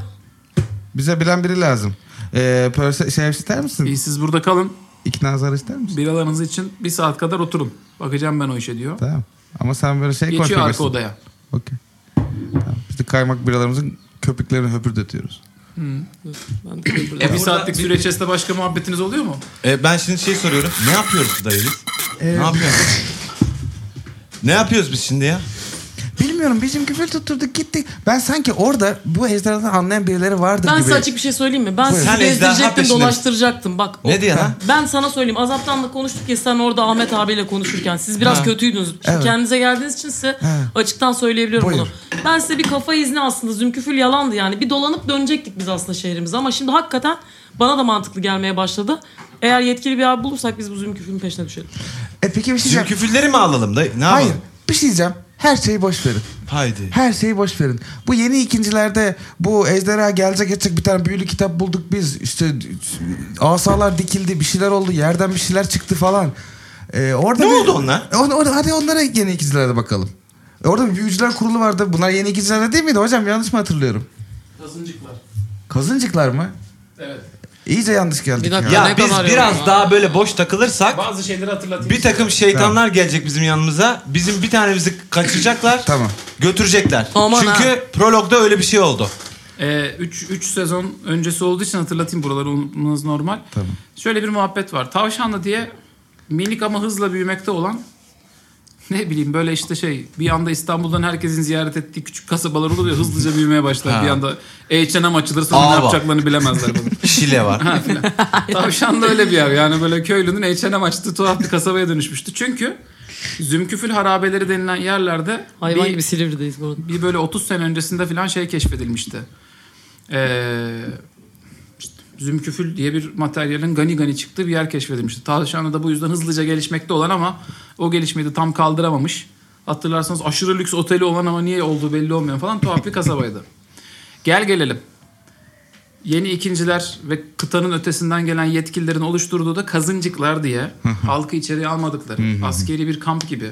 Speaker 3: Bize bilen biri lazım. Ee, Perse- şey ister misin?
Speaker 1: İyi siz burada kalın.
Speaker 3: İkna zarı ister misin?
Speaker 1: Biralarınız için bir saat kadar oturun. Bakacağım ben o işe diyor.
Speaker 3: Tamam. Ama sen böyle şey
Speaker 1: Geçiyor arka
Speaker 3: konuşabilirsin.
Speaker 1: odaya.
Speaker 3: Okey. Tamam. Biz de kaymak biralarımızın köpüklerini höpürdetiyoruz.
Speaker 4: Ben de böyle-
Speaker 1: E bir saatlik süreç içerisinde başka muhabbetiniz oluyor mu?
Speaker 2: E, ben şimdi şey soruyorum. Ne yapıyoruz dayı biz?
Speaker 4: E,
Speaker 2: Ne yapıyoruz? ne yapıyoruz biz şimdi ya?
Speaker 3: Bilmiyorum bizim küfür tutturduk gittik. Ben sanki orada bu ejderhadan anlayan birileri vardır
Speaker 4: ben
Speaker 3: gibi.
Speaker 4: size açık bir şey söyleyeyim mi? Ben
Speaker 2: Sen
Speaker 4: sizi
Speaker 2: ejderha
Speaker 4: gezdirecektim,
Speaker 2: peşinde-
Speaker 4: dolaştıracaktım. Bak.
Speaker 2: Ne diyor lan?
Speaker 4: Ben sana söyleyeyim. Azaptan'la konuştuk ya sen orada Ahmet abiyle konuşurken. Siz biraz kötüydünüz. Şimdi
Speaker 3: Evet.
Speaker 4: kendinize geldiğiniz için size
Speaker 3: He.
Speaker 4: açıktan söyleyebiliyorum
Speaker 3: Buyur.
Speaker 4: bunu. Ben size bir kafa izni aslında. Zümküfül yalandı yani. Bir dolanıp dönecektik biz aslında şehrimize. Ama şimdi hakikaten bana da mantıklı gelmeye başladı. Eğer yetkili bir abi bulursak biz bu zümküfülün peşine düşelim.
Speaker 3: E peki bir şey diyeceğim.
Speaker 2: Zümküfülleri mi alalım dayı? Ne
Speaker 3: Hayır
Speaker 2: yapalım?
Speaker 3: bir şey diyeceğim. Her şeyi boş verin.
Speaker 2: Haydi.
Speaker 3: Her şeyi boş verin. Bu yeni ikincilerde bu ejderha gelecek geçecek bir tane büyülü kitap bulduk biz. İşte asalar dikildi bir şeyler oldu yerden bir şeyler çıktı falan. Ee, orada
Speaker 2: Ne
Speaker 3: bir-
Speaker 2: oldu onlar?
Speaker 3: E, on- on- hadi onlara yeni ikincilerde bakalım. E, orada bir büyücüler kurulu vardı. Bunlar yeni ikincilerde değil miydi hocam? Yanlış mı hatırlıyorum?
Speaker 1: Kazıncıklar.
Speaker 3: Kazıncıklar mı?
Speaker 1: Evet.
Speaker 3: İyice yanlış geldik.
Speaker 4: Bir dakika.
Speaker 3: ya.
Speaker 2: Ya
Speaker 4: ne
Speaker 2: biz
Speaker 4: kadar
Speaker 2: biraz
Speaker 4: ya?
Speaker 2: daha böyle boş takılırsak
Speaker 1: Bazı şeyleri hatırlatayım.
Speaker 2: bir takım şeytanlar gelecek bizim yanımıza. Bizim bir tanemizi kaçıracaklar.
Speaker 3: Tamam.
Speaker 2: Götürecekler.
Speaker 4: Aman
Speaker 2: Çünkü
Speaker 4: ha.
Speaker 2: prologda öyle bir şey oldu.
Speaker 1: 3 3 E, sezon öncesi olduğu için hatırlatayım buraları unutmanız normal.
Speaker 3: Tamam.
Speaker 1: Şöyle bir muhabbet var. Tavşanlı diye minik ama hızla büyümekte olan ne bileyim böyle işte şey bir anda İstanbul'dan herkesin ziyaret ettiği küçük kasabalar olur ya hızlıca büyümeye başlar
Speaker 2: Ha.
Speaker 1: bir anda H&M açılır sonra
Speaker 2: Ava.
Speaker 1: ne yapacaklarını bilemezler bunu.
Speaker 2: Şile var.
Speaker 1: Tavşan da öyle bir yer. Yani böyle köylünün H&M açtığı tuhaf bir kasabaya dönüşmüştü. Çünkü Zümküfül harabeleri denilen yerlerde
Speaker 4: Hayvan
Speaker 1: bir,
Speaker 4: gibi Silivri'deyiz bu arada.
Speaker 1: bir böyle 30 sene öncesinde falan şey keşfedilmişti. Ee, işte zümküfül diye bir materyalin gani gani çıktığı bir yer keşfedilmişti. Tavşanlı da bu yüzden hızlıca gelişmekte olan ama o gelişmeyi de tam kaldıramamış. Hatırlarsanız aşırı lüks oteli olan ama niye olduğu belli olmayan falan tuhaf bir kasabaydı. Gel gelelim. Yeni ikinciler ve kıtanın ötesinden gelen yetkililerin oluşturduğu da kazıncıklar diye halkı içeriye almadıkları askeri bir kamp gibi.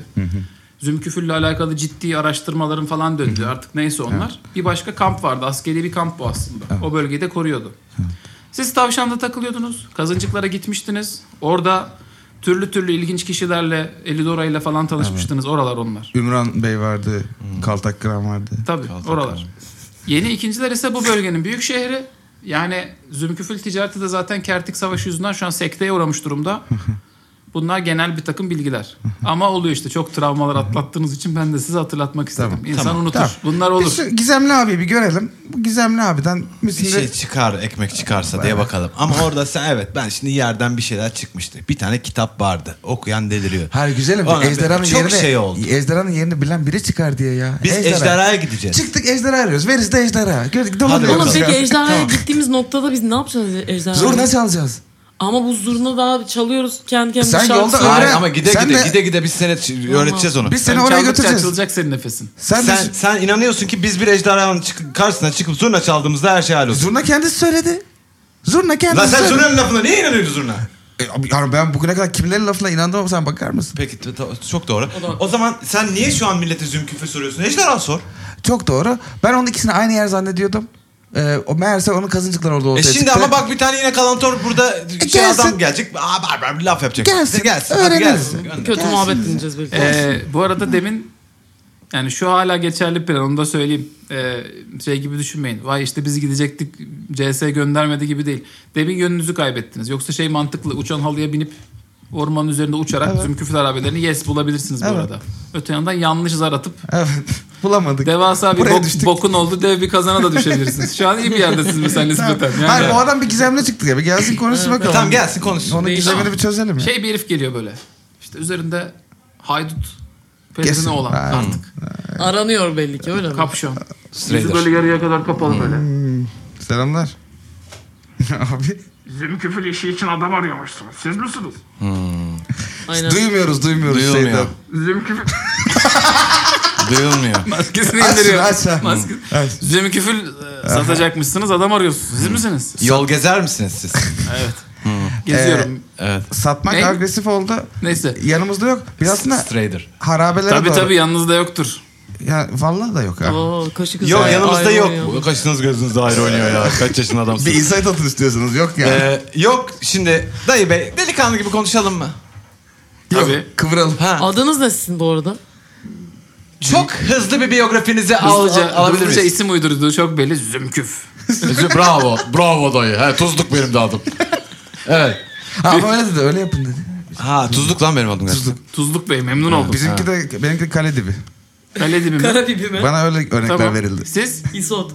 Speaker 1: Zümküfül'le alakalı ciddi araştırmaların falan döndü artık neyse onlar. Bir başka kamp vardı askeri bir kamp bu aslında. O bölgeyi de koruyordu. Siz tavşanda takılıyordunuz. Kazıncıklara gitmiştiniz. Orada türlü türlü ilginç kişilerle Elidora ile falan tanışmıştınız. Oralar onlar.
Speaker 3: Ümran Bey vardı. Kaltak Kıran vardı.
Speaker 1: Tabii oralar. Yeni ikinciler ise bu bölgenin büyük şehri. Yani Zümküfül ticareti de zaten Kertik Savaşı yüzünden şu an sekteye uğramış durumda. Bunlar genel bir takım bilgiler. Ama oluyor işte çok travmalar atlattığınız için ben de size hatırlatmak istedim.
Speaker 3: Tamam,
Speaker 1: İnsan unutur.
Speaker 3: Tamam.
Speaker 1: Bunlar
Speaker 3: Biz
Speaker 1: olur.
Speaker 3: şu Gizemli abi bir görelim. Bu Gizemli abiden
Speaker 2: Bir
Speaker 3: bizim
Speaker 2: şey çıkar ekmek çıkarsa diye bakalım. Ama orada sen evet ben şimdi yerden bir şeyler çıkmıştı. Bir tane kitap vardı. Okuyan deliriyor.
Speaker 3: Hayır güzelim.
Speaker 2: Ona
Speaker 3: ejderhanın
Speaker 2: çok
Speaker 3: yerine,
Speaker 2: şey oldu.
Speaker 3: Ejderhanın yerini bilen biri çıkar diye ya.
Speaker 2: Biz
Speaker 3: Ejderha.
Speaker 2: ejderhaya gideceğiz.
Speaker 3: Çıktık ejderha arıyoruz. Veririz de ejderha. Gördük
Speaker 2: Hadi
Speaker 4: Oğlum
Speaker 3: dolanıyoruz.
Speaker 4: peki
Speaker 3: ya.
Speaker 4: ejderhaya
Speaker 3: Tamam.
Speaker 4: gittiğimiz noktada biz ne yapacağız ejderhaya?
Speaker 3: Zurna çalacağız.
Speaker 4: Ama bu zurna daha çalıyoruz kendi kendimize
Speaker 3: Sen
Speaker 4: şarkı
Speaker 3: yolda
Speaker 4: söylüyoruz.
Speaker 2: Hayır
Speaker 3: Öyle-
Speaker 2: ama gide
Speaker 3: sen
Speaker 2: gide
Speaker 3: de-
Speaker 2: gide gide biz seni ç- öğreteceğiz onu.
Speaker 3: Biz
Speaker 1: Sen
Speaker 3: seni oraya
Speaker 1: çaldıkça
Speaker 3: götüreceğiz.
Speaker 1: açılacak senin nefesin.
Speaker 3: Sen,
Speaker 2: sen,
Speaker 3: de-
Speaker 2: sen inanıyorsun ki biz bir ejderhanın çık- karşısına çıkıp zurna çaldığımızda her şey hallolur.
Speaker 3: Zurna kendisi söyledi. Zurna kendisi
Speaker 2: Lan sen
Speaker 3: söyledi.
Speaker 2: zurnanın lafına niye inanıyorsun zurna?
Speaker 3: E, abi, yani ben bugüne kadar kimlerin lafına inandım sen bakar mısın?
Speaker 2: Peki t- t- çok doğru. O zaman sen niye şu an millete zümküfü soruyorsun? Ejderha sor.
Speaker 3: Çok doğru. Ben onun ikisini aynı yer zannediyordum. Ee, o meğerse onun kazıncıklar orada ortaya
Speaker 2: E şimdi
Speaker 3: çıktı.
Speaker 2: ama bak bir tane yine kalantor burada şey
Speaker 3: gelsin.
Speaker 2: adam gelecek. Aa, bar, bar, bir laf yapacak.
Speaker 3: Gelsin,
Speaker 2: Gelsin. Hadi
Speaker 3: öğreniriz.
Speaker 2: gelsin. Gönder.
Speaker 4: Kötü muhabbet dinleyeceğiz belki.
Speaker 1: Ee, bu arada demin yani şu hala geçerli plan onu da söyleyeyim. Ee, şey gibi düşünmeyin. Vay işte biz gidecektik CS göndermedi gibi değil. Demin yönünüzü kaybettiniz. Yoksa şey mantıklı uçan halıya binip ormanın üzerinde uçarak
Speaker 3: Evet.
Speaker 1: zümküfül harabelerini yes bulabilirsiniz bu
Speaker 3: Evet.
Speaker 1: arada. Öte yandan yanlış zar atıp
Speaker 3: Evet. Bulamadık.
Speaker 1: devasa bir
Speaker 3: Buraya
Speaker 1: bok-
Speaker 3: düştük.
Speaker 1: bokun oldu dev bir kazana da düşebilirsiniz. şu an iyi bir yerdesiniz mesela nispeten. Yani-
Speaker 3: Hayır o adam bir gizemle çıktı ya. Bir gelsin konuşsun bakalım.
Speaker 2: Tamam gelsin konuşsun.
Speaker 3: Onun
Speaker 4: Değişik.
Speaker 3: gizemini bir çözelim ya.
Speaker 1: Şey bir herif geliyor böyle. İşte üzerinde haydut
Speaker 3: Kesin.
Speaker 1: perizine olan
Speaker 3: Ha.
Speaker 1: artık.
Speaker 4: Aranıyor belli ki öyle mi?
Speaker 1: Kapşon.
Speaker 2: Strider.
Speaker 1: Yüzü böyle yarıya kadar kapalı böyle.
Speaker 3: Selamlar. Abi.
Speaker 6: Bizim küfür işi için adam arıyormuşsunuz. Siz misiniz?
Speaker 4: Aynen.
Speaker 3: Duymuyoruz duymuyoruz
Speaker 2: Duyulmuyor.
Speaker 3: şeyden.
Speaker 6: Bizim küfür...
Speaker 2: Duyulmuyor.
Speaker 1: Maskesini
Speaker 3: Aç
Speaker 1: indiriyor.
Speaker 3: şunu, aç sen.
Speaker 1: Maske...
Speaker 3: Evet.
Speaker 1: Cemil Küfül e, satacakmışsınız adam arıyorsunuz. Siz misiniz?
Speaker 2: Yol gezer misiniz siz?
Speaker 1: Evet.
Speaker 3: Ee,
Speaker 1: Geziyorum.
Speaker 2: Evet.
Speaker 3: Satmak
Speaker 1: Ne?
Speaker 3: agresif oldu.
Speaker 1: Neyse.
Speaker 3: Yanımızda yok. Biz aslında
Speaker 2: Strader.
Speaker 3: harabelere
Speaker 1: Tabii
Speaker 3: doğru.
Speaker 1: tabii yanınızda yoktur.
Speaker 3: Ya vallahi da yok abi.
Speaker 4: Oo, kaşı kızı.
Speaker 2: Yok yanımızda
Speaker 4: Ay,
Speaker 2: yok.
Speaker 4: ay, ay.
Speaker 2: Bu Kaşınız gözünüz ayrı oynuyor ya. Kaç yaşında adamsın.
Speaker 3: Bir insight atın istiyorsanız yok yani.
Speaker 2: Ee, yok şimdi dayı bey delikanlı gibi konuşalım mı?
Speaker 3: yok,
Speaker 1: tabii.
Speaker 3: Kıvıralım.
Speaker 2: Ha.
Speaker 4: Adınız ne sizin bu arada?
Speaker 2: Çok hızlı bir biyografinizi al,
Speaker 1: Hızlıca,
Speaker 2: al- alabilir
Speaker 1: hızlıca
Speaker 2: miyiz?
Speaker 1: isim uydurduğu çok belli. Zümküf.
Speaker 5: bravo. Bravo dayı. He, tuzluk benim de adım. Evet.
Speaker 3: Ha, ama öyle dedi öyle yapın dedi.
Speaker 2: Ha tuzluk lan benim adım. Tuzluk.
Speaker 1: Tuzluk Bey memnun oldum.
Speaker 3: Bizimki de benimki de kale dibi.
Speaker 1: Kale dibi mi?
Speaker 4: Karabibi mi?
Speaker 3: Bana öyle örnekler
Speaker 1: Tamam.
Speaker 3: verildi.
Speaker 1: Siz?
Speaker 4: İsot.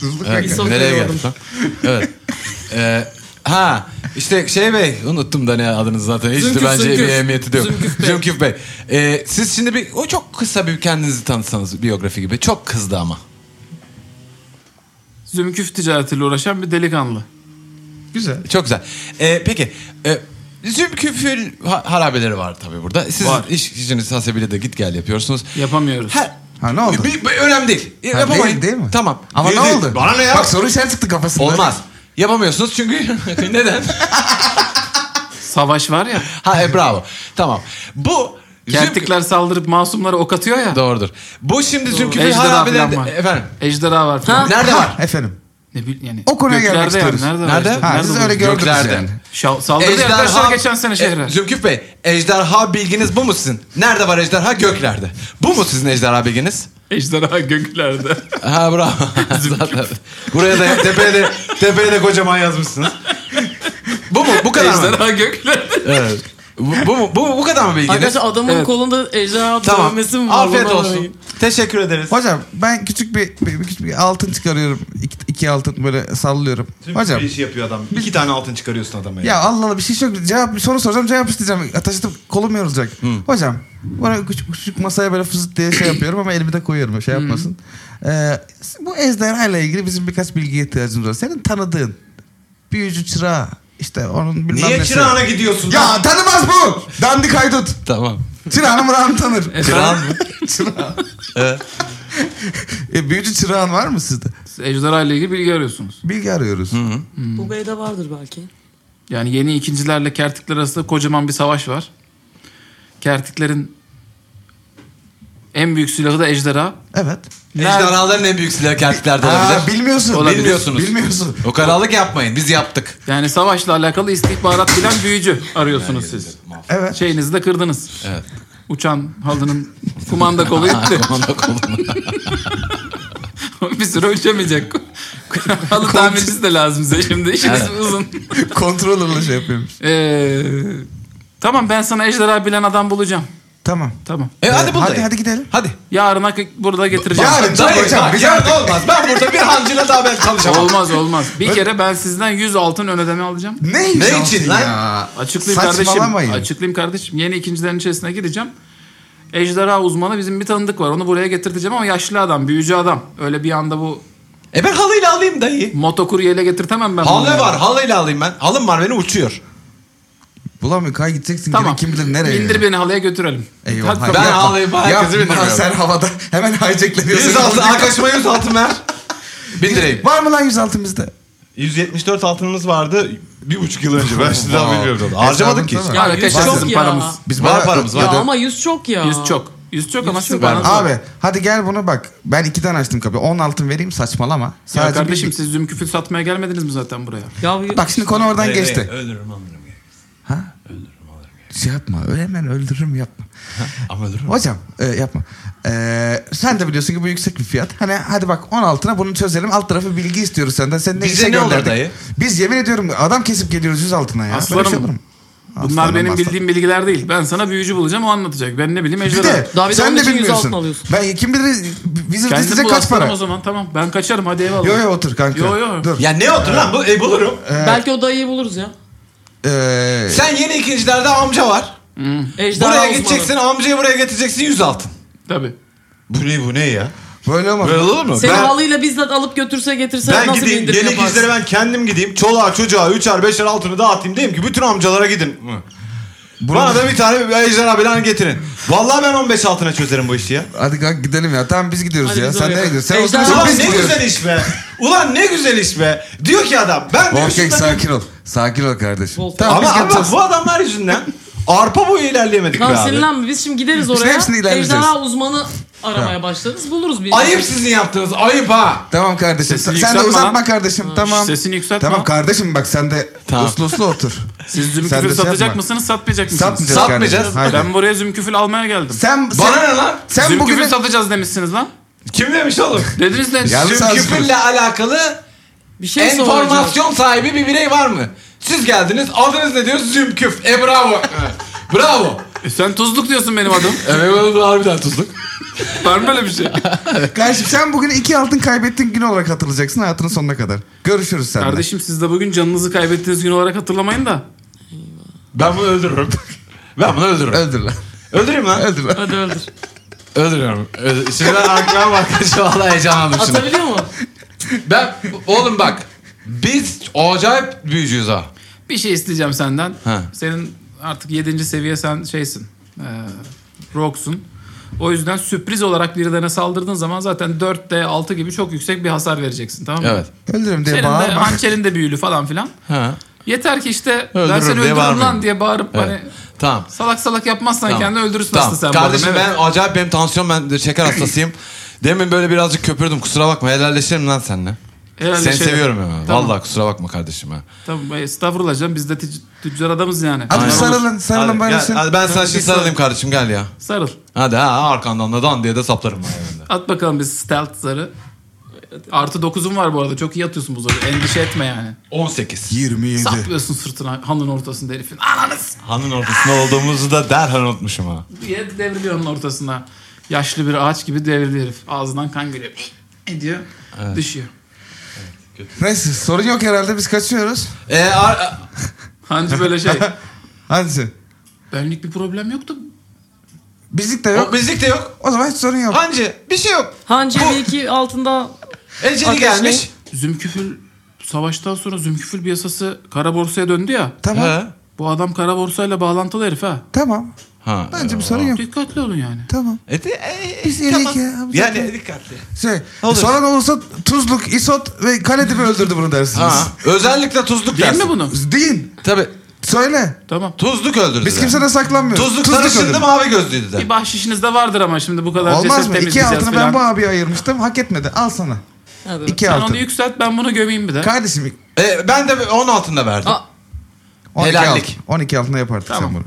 Speaker 3: Tuzluk
Speaker 2: Evet,
Speaker 4: İsot
Speaker 2: nereye
Speaker 4: benim
Speaker 2: geldik lan? Evet. Ee, ha işte şey bey unuttum da ne adınız zaten. Hiç de
Speaker 4: Zümküf,
Speaker 2: bence
Speaker 4: Zümküf.
Speaker 2: bir ehemmiyeti de yok.
Speaker 4: Zümküf Bey.
Speaker 2: Zümküf Bey. Ee, siz şimdi bir o çok kısa bir kendinizi tanıtsanız biyografi gibi. Çok kızdı ama.
Speaker 1: Zümküf ticaretiyle uğraşan bir delikanlı.
Speaker 3: Güzel.
Speaker 2: Çok güzel. Ee, peki. E, Zümküf'ün ha- harabeleri var tabii burada. Siz
Speaker 1: Var.
Speaker 2: iş işiniz hasebiyle de git gel yapıyorsunuz.
Speaker 1: Yapamıyoruz.
Speaker 2: Her,
Speaker 3: Ha ne oldu?
Speaker 2: Bir- bir- önemli değil.
Speaker 3: Ha,
Speaker 2: Yapamayın.
Speaker 3: değil, değil mi?
Speaker 2: Tamam.
Speaker 3: Ama
Speaker 2: Değil,
Speaker 3: ne
Speaker 2: değil.
Speaker 3: oldu?
Speaker 2: Bana ne ya?
Speaker 3: Bak soruyu sen çıktı kafasından.
Speaker 2: Olmaz. Yapamıyorsunuz çünkü neden?
Speaker 1: Savaş var ya.
Speaker 2: Ha e, bravo. Tamam. Bu
Speaker 1: Kertikler saldırıp masumlara ok atıyor ya.
Speaker 2: Zümküf- Doğrudur. Bu şimdi Zümküf'ün
Speaker 1: Ejderha falan var.
Speaker 2: harabeleri... Efendim.
Speaker 1: Ejderha var falan.
Speaker 4: Ha?
Speaker 2: Nerede var?
Speaker 3: Efendim.
Speaker 1: Ne bil yani.
Speaker 3: O konuya
Speaker 1: göklerde
Speaker 3: gelmek istiyoruz.
Speaker 1: Yani. Nerede?
Speaker 2: Nerede?
Speaker 1: Var?
Speaker 3: Ha, siz
Speaker 1: Nerede
Speaker 3: öyle
Speaker 1: bu?
Speaker 3: gördünüz
Speaker 2: Göklerde.
Speaker 3: yani.
Speaker 1: Şa- saldırdı ya arkadaşlar geçen sene şey şehre.
Speaker 2: E, Zümküf Bey, ejderha bilginiz bu mu sizin? Nerede var ejderha? Göklerde. Bu mu sizin ejderha bilginiz?
Speaker 1: Ejderha göklerde.
Speaker 2: Ha bravo. Zaten. Buraya da tepeye de, tepeye de kocaman yazmışsınız. Bu mu? Bu kadar mı?
Speaker 1: Ejderha göklerde.
Speaker 2: Evet. Bu, bu, mu? bu, bu kadar mı bilginiz?
Speaker 4: Arkadaşlar adamın
Speaker 1: Evet.
Speaker 4: kolunda ejderha
Speaker 2: Tamam.
Speaker 4: dövmesi mi var?
Speaker 2: Afiyet
Speaker 4: Ondan
Speaker 2: olsun.
Speaker 4: dolayı.
Speaker 2: Teşekkür ederiz.
Speaker 3: Hocam ben küçük bir, bir, bir küçük bir altın çıkarıyorum. İki, iki altın böyle sallıyorum. Hocam
Speaker 2: işi yapıyor adam. İki tane altın çıkarıyorsun adama.
Speaker 3: ya Allah Allah bir şey yok. Cevap bir soru soracağım cevap isteyeceğim. Taşıtıp kolum yorulacak. Hocam bana küçük, küçük masaya böyle fızıt diye şey yapıyorum ama elimi de koyuyorum şey yapmasın. Ee, bu ejderha ile ilgili bizim birkaç bilgiye ihtiyacımız var. Senin tanıdığın büyücü çırağı işte onun bilmem
Speaker 2: Niye
Speaker 3: nesi.
Speaker 2: çırağına gidiyorsun?
Speaker 3: Ya tanımaz bu. Dandik haydut.
Speaker 2: Tamam.
Speaker 3: Çırağını mırağını tanır.
Speaker 2: Çırağın mı?
Speaker 3: E, büyücü çırağın var mı sizde?
Speaker 1: Ejderha ile ilgili bilgi arıyorsunuz.
Speaker 3: Bilgi arıyoruz.
Speaker 4: Bu beyde vardır belki.
Speaker 1: Yani yeni ikincilerle kertikler arasında kocaman bir savaş var. Kertiklerin en büyük silahı da ejderha.
Speaker 3: Evet.
Speaker 2: Ejderhaların en büyük silahı kertiklerde
Speaker 3: Aa,
Speaker 2: olabilir.
Speaker 3: bilmiyorsun.
Speaker 2: Olabilir.
Speaker 3: Bilmiyorsun.
Speaker 2: Bilmiyorsunuz.
Speaker 3: Bilmiyorsun.
Speaker 2: O kararlık yapmayın. Biz yaptık.
Speaker 1: Yani savaşla alakalı istihbarat bilen büyücü arıyorsunuz siz.
Speaker 3: Evet.
Speaker 1: Şeyinizi de kırdınız.
Speaker 2: Evet.
Speaker 1: Uçan halının kumanda kolu gitti.
Speaker 2: Aman kolum.
Speaker 1: bir süre uçamayacak. Halı tamircisi de lazım size şimdi. İşiniz uzun.
Speaker 3: Kontrolörle şey yapıyormuş.
Speaker 1: Ee, tamam ben sana ejderha bilen adam bulacağım.
Speaker 3: Tamam.
Speaker 1: Tamam.
Speaker 2: E hadi bul
Speaker 3: Ee, Hadi,
Speaker 2: dayı.
Speaker 3: hadi gidelim.
Speaker 2: Hadi.
Speaker 1: Yarına k- burada getireceğim.
Speaker 3: Yarın çok
Speaker 2: Dayı,
Speaker 3: hocam,
Speaker 2: bak,
Speaker 3: biz
Speaker 2: yarın olmaz. Ben burada bir hancıyla daha ben çalışamam.
Speaker 1: Olmaz olmaz. Bir kere ben sizden 100 altın ön ödeme alacağım.
Speaker 3: Ne,
Speaker 2: Ne
Speaker 3: için
Speaker 2: için
Speaker 3: lan?
Speaker 2: lan?
Speaker 3: Ya?
Speaker 1: Açıklayayım
Speaker 3: Saçmalamayın.
Speaker 1: kardeşim. Açıklayayım kardeşim. Yeni ikincilerin içerisine gideceğim. Ejderha uzmanı bizim bir tanıdık var. Onu buraya getirteceğim ama yaşlı adam, büyücü adam. Öyle bir anda bu
Speaker 2: E ben halıyla alayım dayı.
Speaker 1: motokuryeyle getirtemem ben. bunu
Speaker 2: Halı
Speaker 1: ya.
Speaker 2: var. Halıyla alayım ben. Halım var benim uçuyor.
Speaker 3: Bulamıyor. Kay gideceksin.
Speaker 1: Tamam.
Speaker 3: Gene kim bilir nereye.
Speaker 1: İndir beni halıya götürelim.
Speaker 3: Eyvallah.
Speaker 1: Hak-
Speaker 2: Ben
Speaker 3: Yapma.
Speaker 2: ağlayıp herkesi
Speaker 3: Yapma,
Speaker 2: bindiriyorum.
Speaker 3: Sen havada hemen hijacklanıyorsun.
Speaker 2: 100 altın. Arkadaşıma 100 altın ver. Bindireyim.
Speaker 3: Var mı lan 100 altın bizde?
Speaker 5: 174 altınız vardı bir buçuk yıl önce. Ben şimdi daha bilmiyorum.
Speaker 2: Harcamadık ki hiç.
Speaker 3: Hesabın
Speaker 1: Ya
Speaker 3: tamam.
Speaker 1: arkadaşlar
Speaker 3: Var
Speaker 1: sizin
Speaker 4: ya.
Speaker 1: paramız.
Speaker 3: Biz
Speaker 2: Var
Speaker 3: bayağı
Speaker 2: paramız, var.
Speaker 4: Ya
Speaker 3: ödedik.
Speaker 4: ama yüz çok ya.
Speaker 1: 100 çok. 100 çok ama
Speaker 4: Yüz
Speaker 1: sizin
Speaker 4: çok.
Speaker 1: paranız var.
Speaker 3: Abi hadi gel bunu bak. Ben iki tane açtım kapıyı. 10 altın vereyim saçmalama.
Speaker 1: Ya
Speaker 3: bir-
Speaker 1: kardeşim siz zümküfül satmaya gelmediniz mi zaten buraya?
Speaker 4: Ya bu-
Speaker 3: Bak şimdi konu oradan geçti.
Speaker 2: Ölürüm alırım.
Speaker 3: Şey yapma. öyle Hemen öldürürüm yapma.
Speaker 2: Ama ölürüm.
Speaker 3: Hocam e, yapma. E, sen de biliyorsun ki bu yüksek bir fiyat. Hani hadi bak 16'ına bunu çözelim. Alt tarafı bilgi istiyoruz senden. Sen ne
Speaker 2: Bize
Speaker 3: işe
Speaker 2: ne olur
Speaker 3: gönderdik?
Speaker 2: dayı?
Speaker 3: Biz yemin ediyorum adam kesip geliyoruz 100 altına ya.
Speaker 1: Aslanım.
Speaker 3: Böyle şey olur mu?
Speaker 1: Bunlar
Speaker 3: Aslanım,
Speaker 1: benim
Speaker 3: aslanım.
Speaker 1: bildiğim bilgiler değil. Ben sana büyücü bulacağım o anlatacak. Ben ne bileyim
Speaker 3: Bir
Speaker 1: ejderha.
Speaker 3: de
Speaker 4: Daha bir de
Speaker 3: sen
Speaker 4: onun
Speaker 3: de
Speaker 4: için 100
Speaker 3: bilmiyorsun.
Speaker 4: altın alıyorsun.
Speaker 3: Ben kim bilir Wizard
Speaker 1: Kendin
Speaker 3: size
Speaker 1: bul
Speaker 3: kaç
Speaker 1: aslanım
Speaker 3: para?
Speaker 1: o zaman tamam. Ben kaçarım hadi eyvallah.
Speaker 3: Yo yo otur kanka.
Speaker 1: Yo, yo.
Speaker 3: Dur.
Speaker 2: Ya ne otur lan? Bu, e, bulurum.
Speaker 4: Belki o dayıyı buluruz ya.
Speaker 3: Ee,
Speaker 2: Sen yeni ikincilerde amca var.
Speaker 4: Ejderha
Speaker 2: Buraya
Speaker 4: uzmanı.
Speaker 2: gideceksin amcayı buraya getireceksin 100 altın.
Speaker 1: Tabii.
Speaker 5: Bu ne bu ne ya?
Speaker 3: böyle olmaz.
Speaker 5: Böyle olur mu?
Speaker 4: Seni
Speaker 5: ben
Speaker 4: halıyla bizzat alıp götürse getirse
Speaker 5: ben
Speaker 4: nasıl bir
Speaker 5: gideyim
Speaker 4: indirim
Speaker 5: yeni
Speaker 4: yaparsın?
Speaker 5: ikizlere ben kendim gideyim. Çoluğa çocuğa üçer beşer altını dağıtayım diyeyim ki bütün amcalara gidin. Hı. Bana da bir tane bir ejderha bilen getirin. Vallahi ben 15 altına çözerim bu işi ya.
Speaker 3: Hadi kanka gidelim ya. Tamam biz gidiyoruz
Speaker 4: Hadi
Speaker 3: ya.
Speaker 4: biz
Speaker 3: Sen
Speaker 4: oraya.
Speaker 3: nereye gidiyorsun? Sen
Speaker 4: Ejderha-
Speaker 3: olsun
Speaker 5: Ulan
Speaker 3: biz
Speaker 5: ne
Speaker 3: gidiyoruz.
Speaker 5: güzel iş be. Ulan ne güzel iş be. Diyor ki adam ben diyor
Speaker 3: Volkek
Speaker 5: şurada-
Speaker 3: sakin ol. Sakin ol kardeşim.
Speaker 4: Bol-
Speaker 3: Tamam
Speaker 2: Ama,
Speaker 3: biz
Speaker 2: ama
Speaker 3: yapacağız.
Speaker 2: bu adamlar yüzünden arpa boyu ilerleyemedik be
Speaker 4: Tamam
Speaker 2: abi.
Speaker 4: sinirlenme biz şimdi gideriz
Speaker 3: Biz
Speaker 4: oraya.
Speaker 3: hepsini ilerleyeceğiz.
Speaker 4: Ejderha uzmanı aramaya başlarız buluruz bir.
Speaker 2: Ayıp sizin yaptığınız ayıp ha.
Speaker 3: Tamam
Speaker 1: Sesini
Speaker 3: kardeşim. sen de
Speaker 1: yükseltme
Speaker 3: uzatma
Speaker 1: lan.
Speaker 3: kardeşim. Tamam.
Speaker 1: Sesini yükseltme.
Speaker 3: Tamam kardeşim bak sen de
Speaker 7: Tamam.
Speaker 3: uslu uslu otur.
Speaker 1: Siz
Speaker 3: Sen de
Speaker 1: zümküfül
Speaker 3: şey
Speaker 1: satacak
Speaker 3: yapma.
Speaker 1: mısınız, satmayacak mısınız?
Speaker 3: Satmayacağız,
Speaker 2: Satmayacağız.
Speaker 3: kardeşim. Haydi.
Speaker 1: Ben buraya zümküfül almaya geldim.
Speaker 3: Sen, sen,
Speaker 2: Bana ne lan?
Speaker 3: sen
Speaker 1: zümküfül
Speaker 3: bugüne...
Speaker 1: satacağız demişsiniz lan.
Speaker 2: Kim demiş oğlum?
Speaker 1: Dediniz de
Speaker 3: Yalnız
Speaker 1: züm-
Speaker 3: sen-
Speaker 2: Küfürle alakalı
Speaker 4: Bir şey soracağım.
Speaker 2: enformasyon sahibi bir birey var mı? Siz geldiniz adınız ne diyor? Zümküf. E bravo. bravo.
Speaker 1: E sen tuzluk diyorsun benim adım.
Speaker 2: Evet oğlum harbiden tuzluk.
Speaker 1: Var mı böyle bir şey?
Speaker 3: Kardeşim sen bugün iki altın kaybettiğin gün olarak hatırlayacaksın hayatının sonuna kadar. Görüşürüz seninle.
Speaker 1: Kardeşim siz de bugün canınızı kaybettiğiniz gün olarak hatırlamayın da.
Speaker 2: Ben bunu öldürürüm. Ben bunu öldürürüm.
Speaker 3: Öldür lan.
Speaker 2: Öldüreyim lan.
Speaker 3: Öldür lan.
Speaker 4: Hadi öldür.
Speaker 2: Öldürüyorum. Öldür- Şimdi aklıma bak. Şu an heyecanlandım şimdi.
Speaker 4: Atabiliyor mu?
Speaker 2: Ben oğlum bak. Biz acayip büyücüyüz ha.
Speaker 1: Bir şey isteyeceğim senden.
Speaker 2: Ha.
Speaker 1: Senin artık 7. seviye sen şeysin. E, rogue'sun. O yüzden sürpriz olarak birilerine saldırdığın zaman zaten 4D 6 gibi çok yüksek bir hasar vereceksin tamam mı?
Speaker 2: Evet.
Speaker 3: Öldürürüm diye
Speaker 1: Senin de
Speaker 3: bağırma.
Speaker 1: hançerin de büyülü falan filan.
Speaker 2: Ha.
Speaker 1: Yeter ki işte ben
Speaker 2: Öldürürüm
Speaker 1: seni
Speaker 2: diye
Speaker 1: öldürürüm
Speaker 2: bağırmayın.
Speaker 1: lan diye bağırıp
Speaker 2: Evet.
Speaker 1: hani
Speaker 2: Tamam.
Speaker 1: salak salak yapmazsan
Speaker 2: Tamam.
Speaker 1: kendini öldürürsün
Speaker 2: Tamam.
Speaker 1: aslında sen. bu
Speaker 2: Kardeşim
Speaker 1: adamı,
Speaker 2: ben
Speaker 1: evet.
Speaker 2: acayip benim tansiyon ben de şeker hastasıyım. Demin böyle birazcık köpürdüm kusura bakma helalleşelim lan seninle.
Speaker 1: Herhalde
Speaker 2: Seni
Speaker 1: şey-
Speaker 2: seviyorum ya.
Speaker 1: Tamam.
Speaker 2: Vallahi kusura bakma kardeşim ha.
Speaker 1: Tamam estağfurullah canım biz de tic- tüccar adamız yani.
Speaker 3: Hadi
Speaker 2: Aynen.
Speaker 3: bir sarılın. Sarılın
Speaker 2: Hadi,
Speaker 3: böyle
Speaker 2: gel,
Speaker 3: sen.
Speaker 2: hadi ben sana şimdi sarılayım kardeşim gel ya.
Speaker 1: Sarıl.
Speaker 2: Hadi ha arkandan da dan diye de saplarım ben evinde.
Speaker 1: At bakalım biz stealth zarı. Artı 9'un var bu arada. Çok iyi atıyorsun bu zarı. Endişe etme yani.
Speaker 2: 18.
Speaker 3: 27.
Speaker 1: Saplıyorsun sırtına hanın ortasında Ah, herifin. Ananız
Speaker 2: Hanın ortasında olduğumuzu da derhal unutmuşum ha.
Speaker 1: diye devriliyor onun ortasına. Yaşlı bir ağaç gibi devrildi herif. Ağzından kan geliyor. Ediyor. Düşüyor.
Speaker 3: Neyse sorun yok herhalde biz kaçıyoruz.
Speaker 2: E, ar-
Speaker 1: Hancı böyle şey.
Speaker 3: Hadi sen.
Speaker 1: Benlik bir problem yoktu.
Speaker 3: Bizlik de
Speaker 2: o
Speaker 3: yok.
Speaker 2: bizlik de yok.
Speaker 3: O zaman hiç sorun yok.
Speaker 2: Hancı bir şey yok.
Speaker 4: Hancı
Speaker 2: Bu-
Speaker 4: belki altında
Speaker 2: Eceli
Speaker 4: Ateş
Speaker 2: gelmiş.
Speaker 1: Zümküfül savaştan sonra zümküfül piyasası kara borsaya döndü ya.
Speaker 3: Tamam.
Speaker 2: Ha.
Speaker 1: Bu adam kara borsayla bağlantılı herif ha.
Speaker 3: Tamam.
Speaker 2: Ha.
Speaker 3: Bence bir sorun yok.
Speaker 1: Dikkatli olun yani.
Speaker 3: Tamam.
Speaker 2: E, de- e,
Speaker 3: Biz
Speaker 2: tamam.
Speaker 3: iyilik ya. Biz
Speaker 2: Yani dikkatli.
Speaker 3: Şey,
Speaker 2: Olur.
Speaker 3: sonra ne olursa Tuzluk, İsot ve Kaledibi öldürdü bunu dersiniz.
Speaker 2: Ha. Özellikle tuzluk
Speaker 1: Değil
Speaker 2: dersin.
Speaker 1: mi bunu?
Speaker 3: Deyin.
Speaker 2: Tabii.
Speaker 3: Söyle.
Speaker 1: Tamam.
Speaker 2: Tuzluk öldürdü.
Speaker 3: Biz
Speaker 2: de.
Speaker 3: kimseden saklanmıyoruz.
Speaker 2: Tuzluk, sarışındı
Speaker 3: öldürdü.
Speaker 2: mavi gözlüydü de.
Speaker 1: Bir bahşişiniz de vardır ama şimdi bu kadar
Speaker 3: Olmaz
Speaker 1: ceset
Speaker 3: mı? İki
Speaker 1: temizleyeceğiz
Speaker 3: altını ben
Speaker 1: falan.
Speaker 3: bu abiye ayırmıştım. Hak etmedi. Al sana.
Speaker 4: Hadi be.
Speaker 3: İki
Speaker 1: Sen
Speaker 3: altın.
Speaker 1: onu yükselt ben bunu gömeyim bir de.
Speaker 3: Kardeşim
Speaker 2: E, ben de 10 altında verdim.
Speaker 4: Aa,
Speaker 3: 12
Speaker 2: Helallik.
Speaker 3: altın. 12 altına yap artık
Speaker 1: Tamam.
Speaker 3: sen bunu.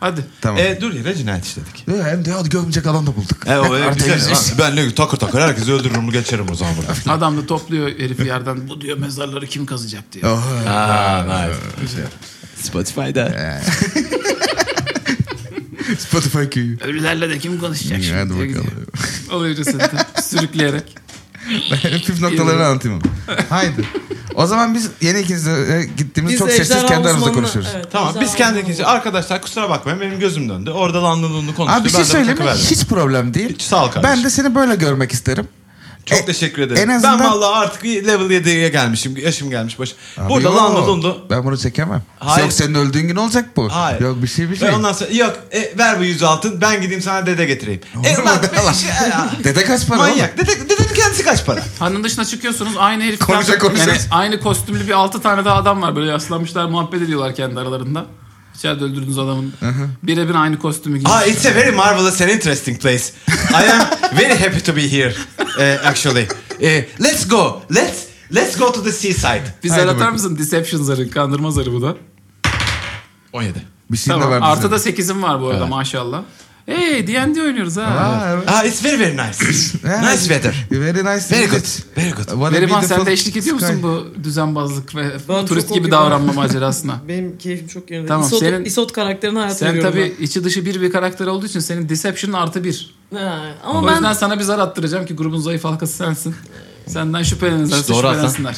Speaker 1: Hadi.
Speaker 3: Tamam.
Speaker 2: E, dur yere cinayet işledik.
Speaker 3: Ee, hem de hadi gömecek alan da bulduk.
Speaker 2: E, o, e,
Speaker 3: Artık
Speaker 2: güzel.
Speaker 3: yüz-
Speaker 2: Ha, ben ne takır takır herkesi öldürürüm geçerim o zaman buradan.
Speaker 1: Adam da topluyor herifi yerden. Bu diyor mezarları kim kazacak diyor.
Speaker 3: Oha.
Speaker 2: Aa, nice. şey Spotify'da.
Speaker 3: Spotify köyü.
Speaker 1: Ölülerle de kim konuşacak şimdi
Speaker 3: Hadi
Speaker 1: diye gidiyor.
Speaker 3: bakalım.
Speaker 1: Alıyor cesedi sürükleyerek.
Speaker 3: Püf noktalarını anlatayım onu. Haydi. O zaman biz yeni ikinizde gittiğimiz
Speaker 4: biz
Speaker 3: çok sessiz
Speaker 4: ejderha
Speaker 3: kendi aramızda
Speaker 4: uzmanını-
Speaker 3: konuşuyoruz.
Speaker 4: Evet,
Speaker 2: Tamam biz
Speaker 4: ejderha
Speaker 2: kendi
Speaker 4: uzmanı-
Speaker 2: kendimize arkadaşlar kusura bakmayın benim gözüm döndü. Orada landılığını konuştu.
Speaker 3: Abi bir şey
Speaker 2: ben de
Speaker 3: söyleyeyim mi?
Speaker 2: takıverdim.
Speaker 3: Hiç problem değil.
Speaker 2: Hiç sağ ol kardeşim.
Speaker 3: Ben de seni böyle görmek isterim.
Speaker 2: Çok
Speaker 3: E,
Speaker 2: teşekkür ederim.
Speaker 3: en azından-
Speaker 2: Ben vallahi artık level 7'ye gelmişim. Yaşım gelmiş baş.
Speaker 3: Abi
Speaker 2: Burada
Speaker 3: yok.
Speaker 2: landılığını
Speaker 3: Ben bunu çekemem.
Speaker 2: Hayır.
Speaker 3: Yok senin öldüğün gün olacak bu.
Speaker 2: Hayır.
Speaker 3: Yok bir şey bir şey.
Speaker 2: Ve ondan sonra yok e, ver bu yüz altın ben gideyim sana dede getireyim. E
Speaker 3: mu
Speaker 2: lan
Speaker 3: be lan?
Speaker 2: bir şey ya.
Speaker 3: Dede kaç para oğlum?
Speaker 2: Manyak. Dede, dedenin kendisi kaç para?
Speaker 1: Hanın dışına çıkıyorsunuz aynı herif.
Speaker 3: Konuşa konuşa.
Speaker 1: aynı kostümlü bir 6 tane daha adam var. Böyle yaslanmışlar muhabbet ediyorlar kendi aralarında. İçeride öldürdüğünüz adamın. Birebir aynı kostümü giymiş.
Speaker 2: Ah, it's a very marvelous and interesting place. I am very happy to be here. eh, actually, Eh, let's go. Let's let's go to the seaside.
Speaker 1: Biz
Speaker 3: Haydi
Speaker 1: atar
Speaker 3: bakalım.
Speaker 1: mısın? Deception zarı, kandırma zarı bu da.
Speaker 2: 17.
Speaker 3: Bir şey de
Speaker 1: Tamam.
Speaker 3: var
Speaker 1: Artı da 8'im var bu arada maşallah. Hey D&D oynuyoruz ha.
Speaker 3: Aa, evet.
Speaker 2: Ah, it's very very nice. nice weather.
Speaker 3: Very nice.
Speaker 2: Very
Speaker 3: indeed.
Speaker 2: good. Very good.
Speaker 3: What a
Speaker 1: Neriman
Speaker 3: beautiful
Speaker 1: sen de eşlik ediyor
Speaker 3: sky.
Speaker 1: musun bu düzenbazlık ve
Speaker 4: Ben
Speaker 1: turist
Speaker 4: çok
Speaker 1: gibi
Speaker 4: okey.
Speaker 1: davranma macerasına?
Speaker 4: Benim keyfim çok yerinde.
Speaker 1: Tamam,
Speaker 4: İsot,
Speaker 1: senin-
Speaker 4: İsot karakterini hayata
Speaker 1: Sen
Speaker 4: veriyorum
Speaker 1: tabii içi dışı bir bir karakter olduğu için senin deception'ın artı bir.
Speaker 4: ben. Ha,
Speaker 1: O
Speaker 4: Ama ben
Speaker 1: yüzden sana bir zar attıracağım ki grubun zayıf halkası sensin. Senden şüphelenirler,
Speaker 2: İşte doğru
Speaker 1: şüphelensinler.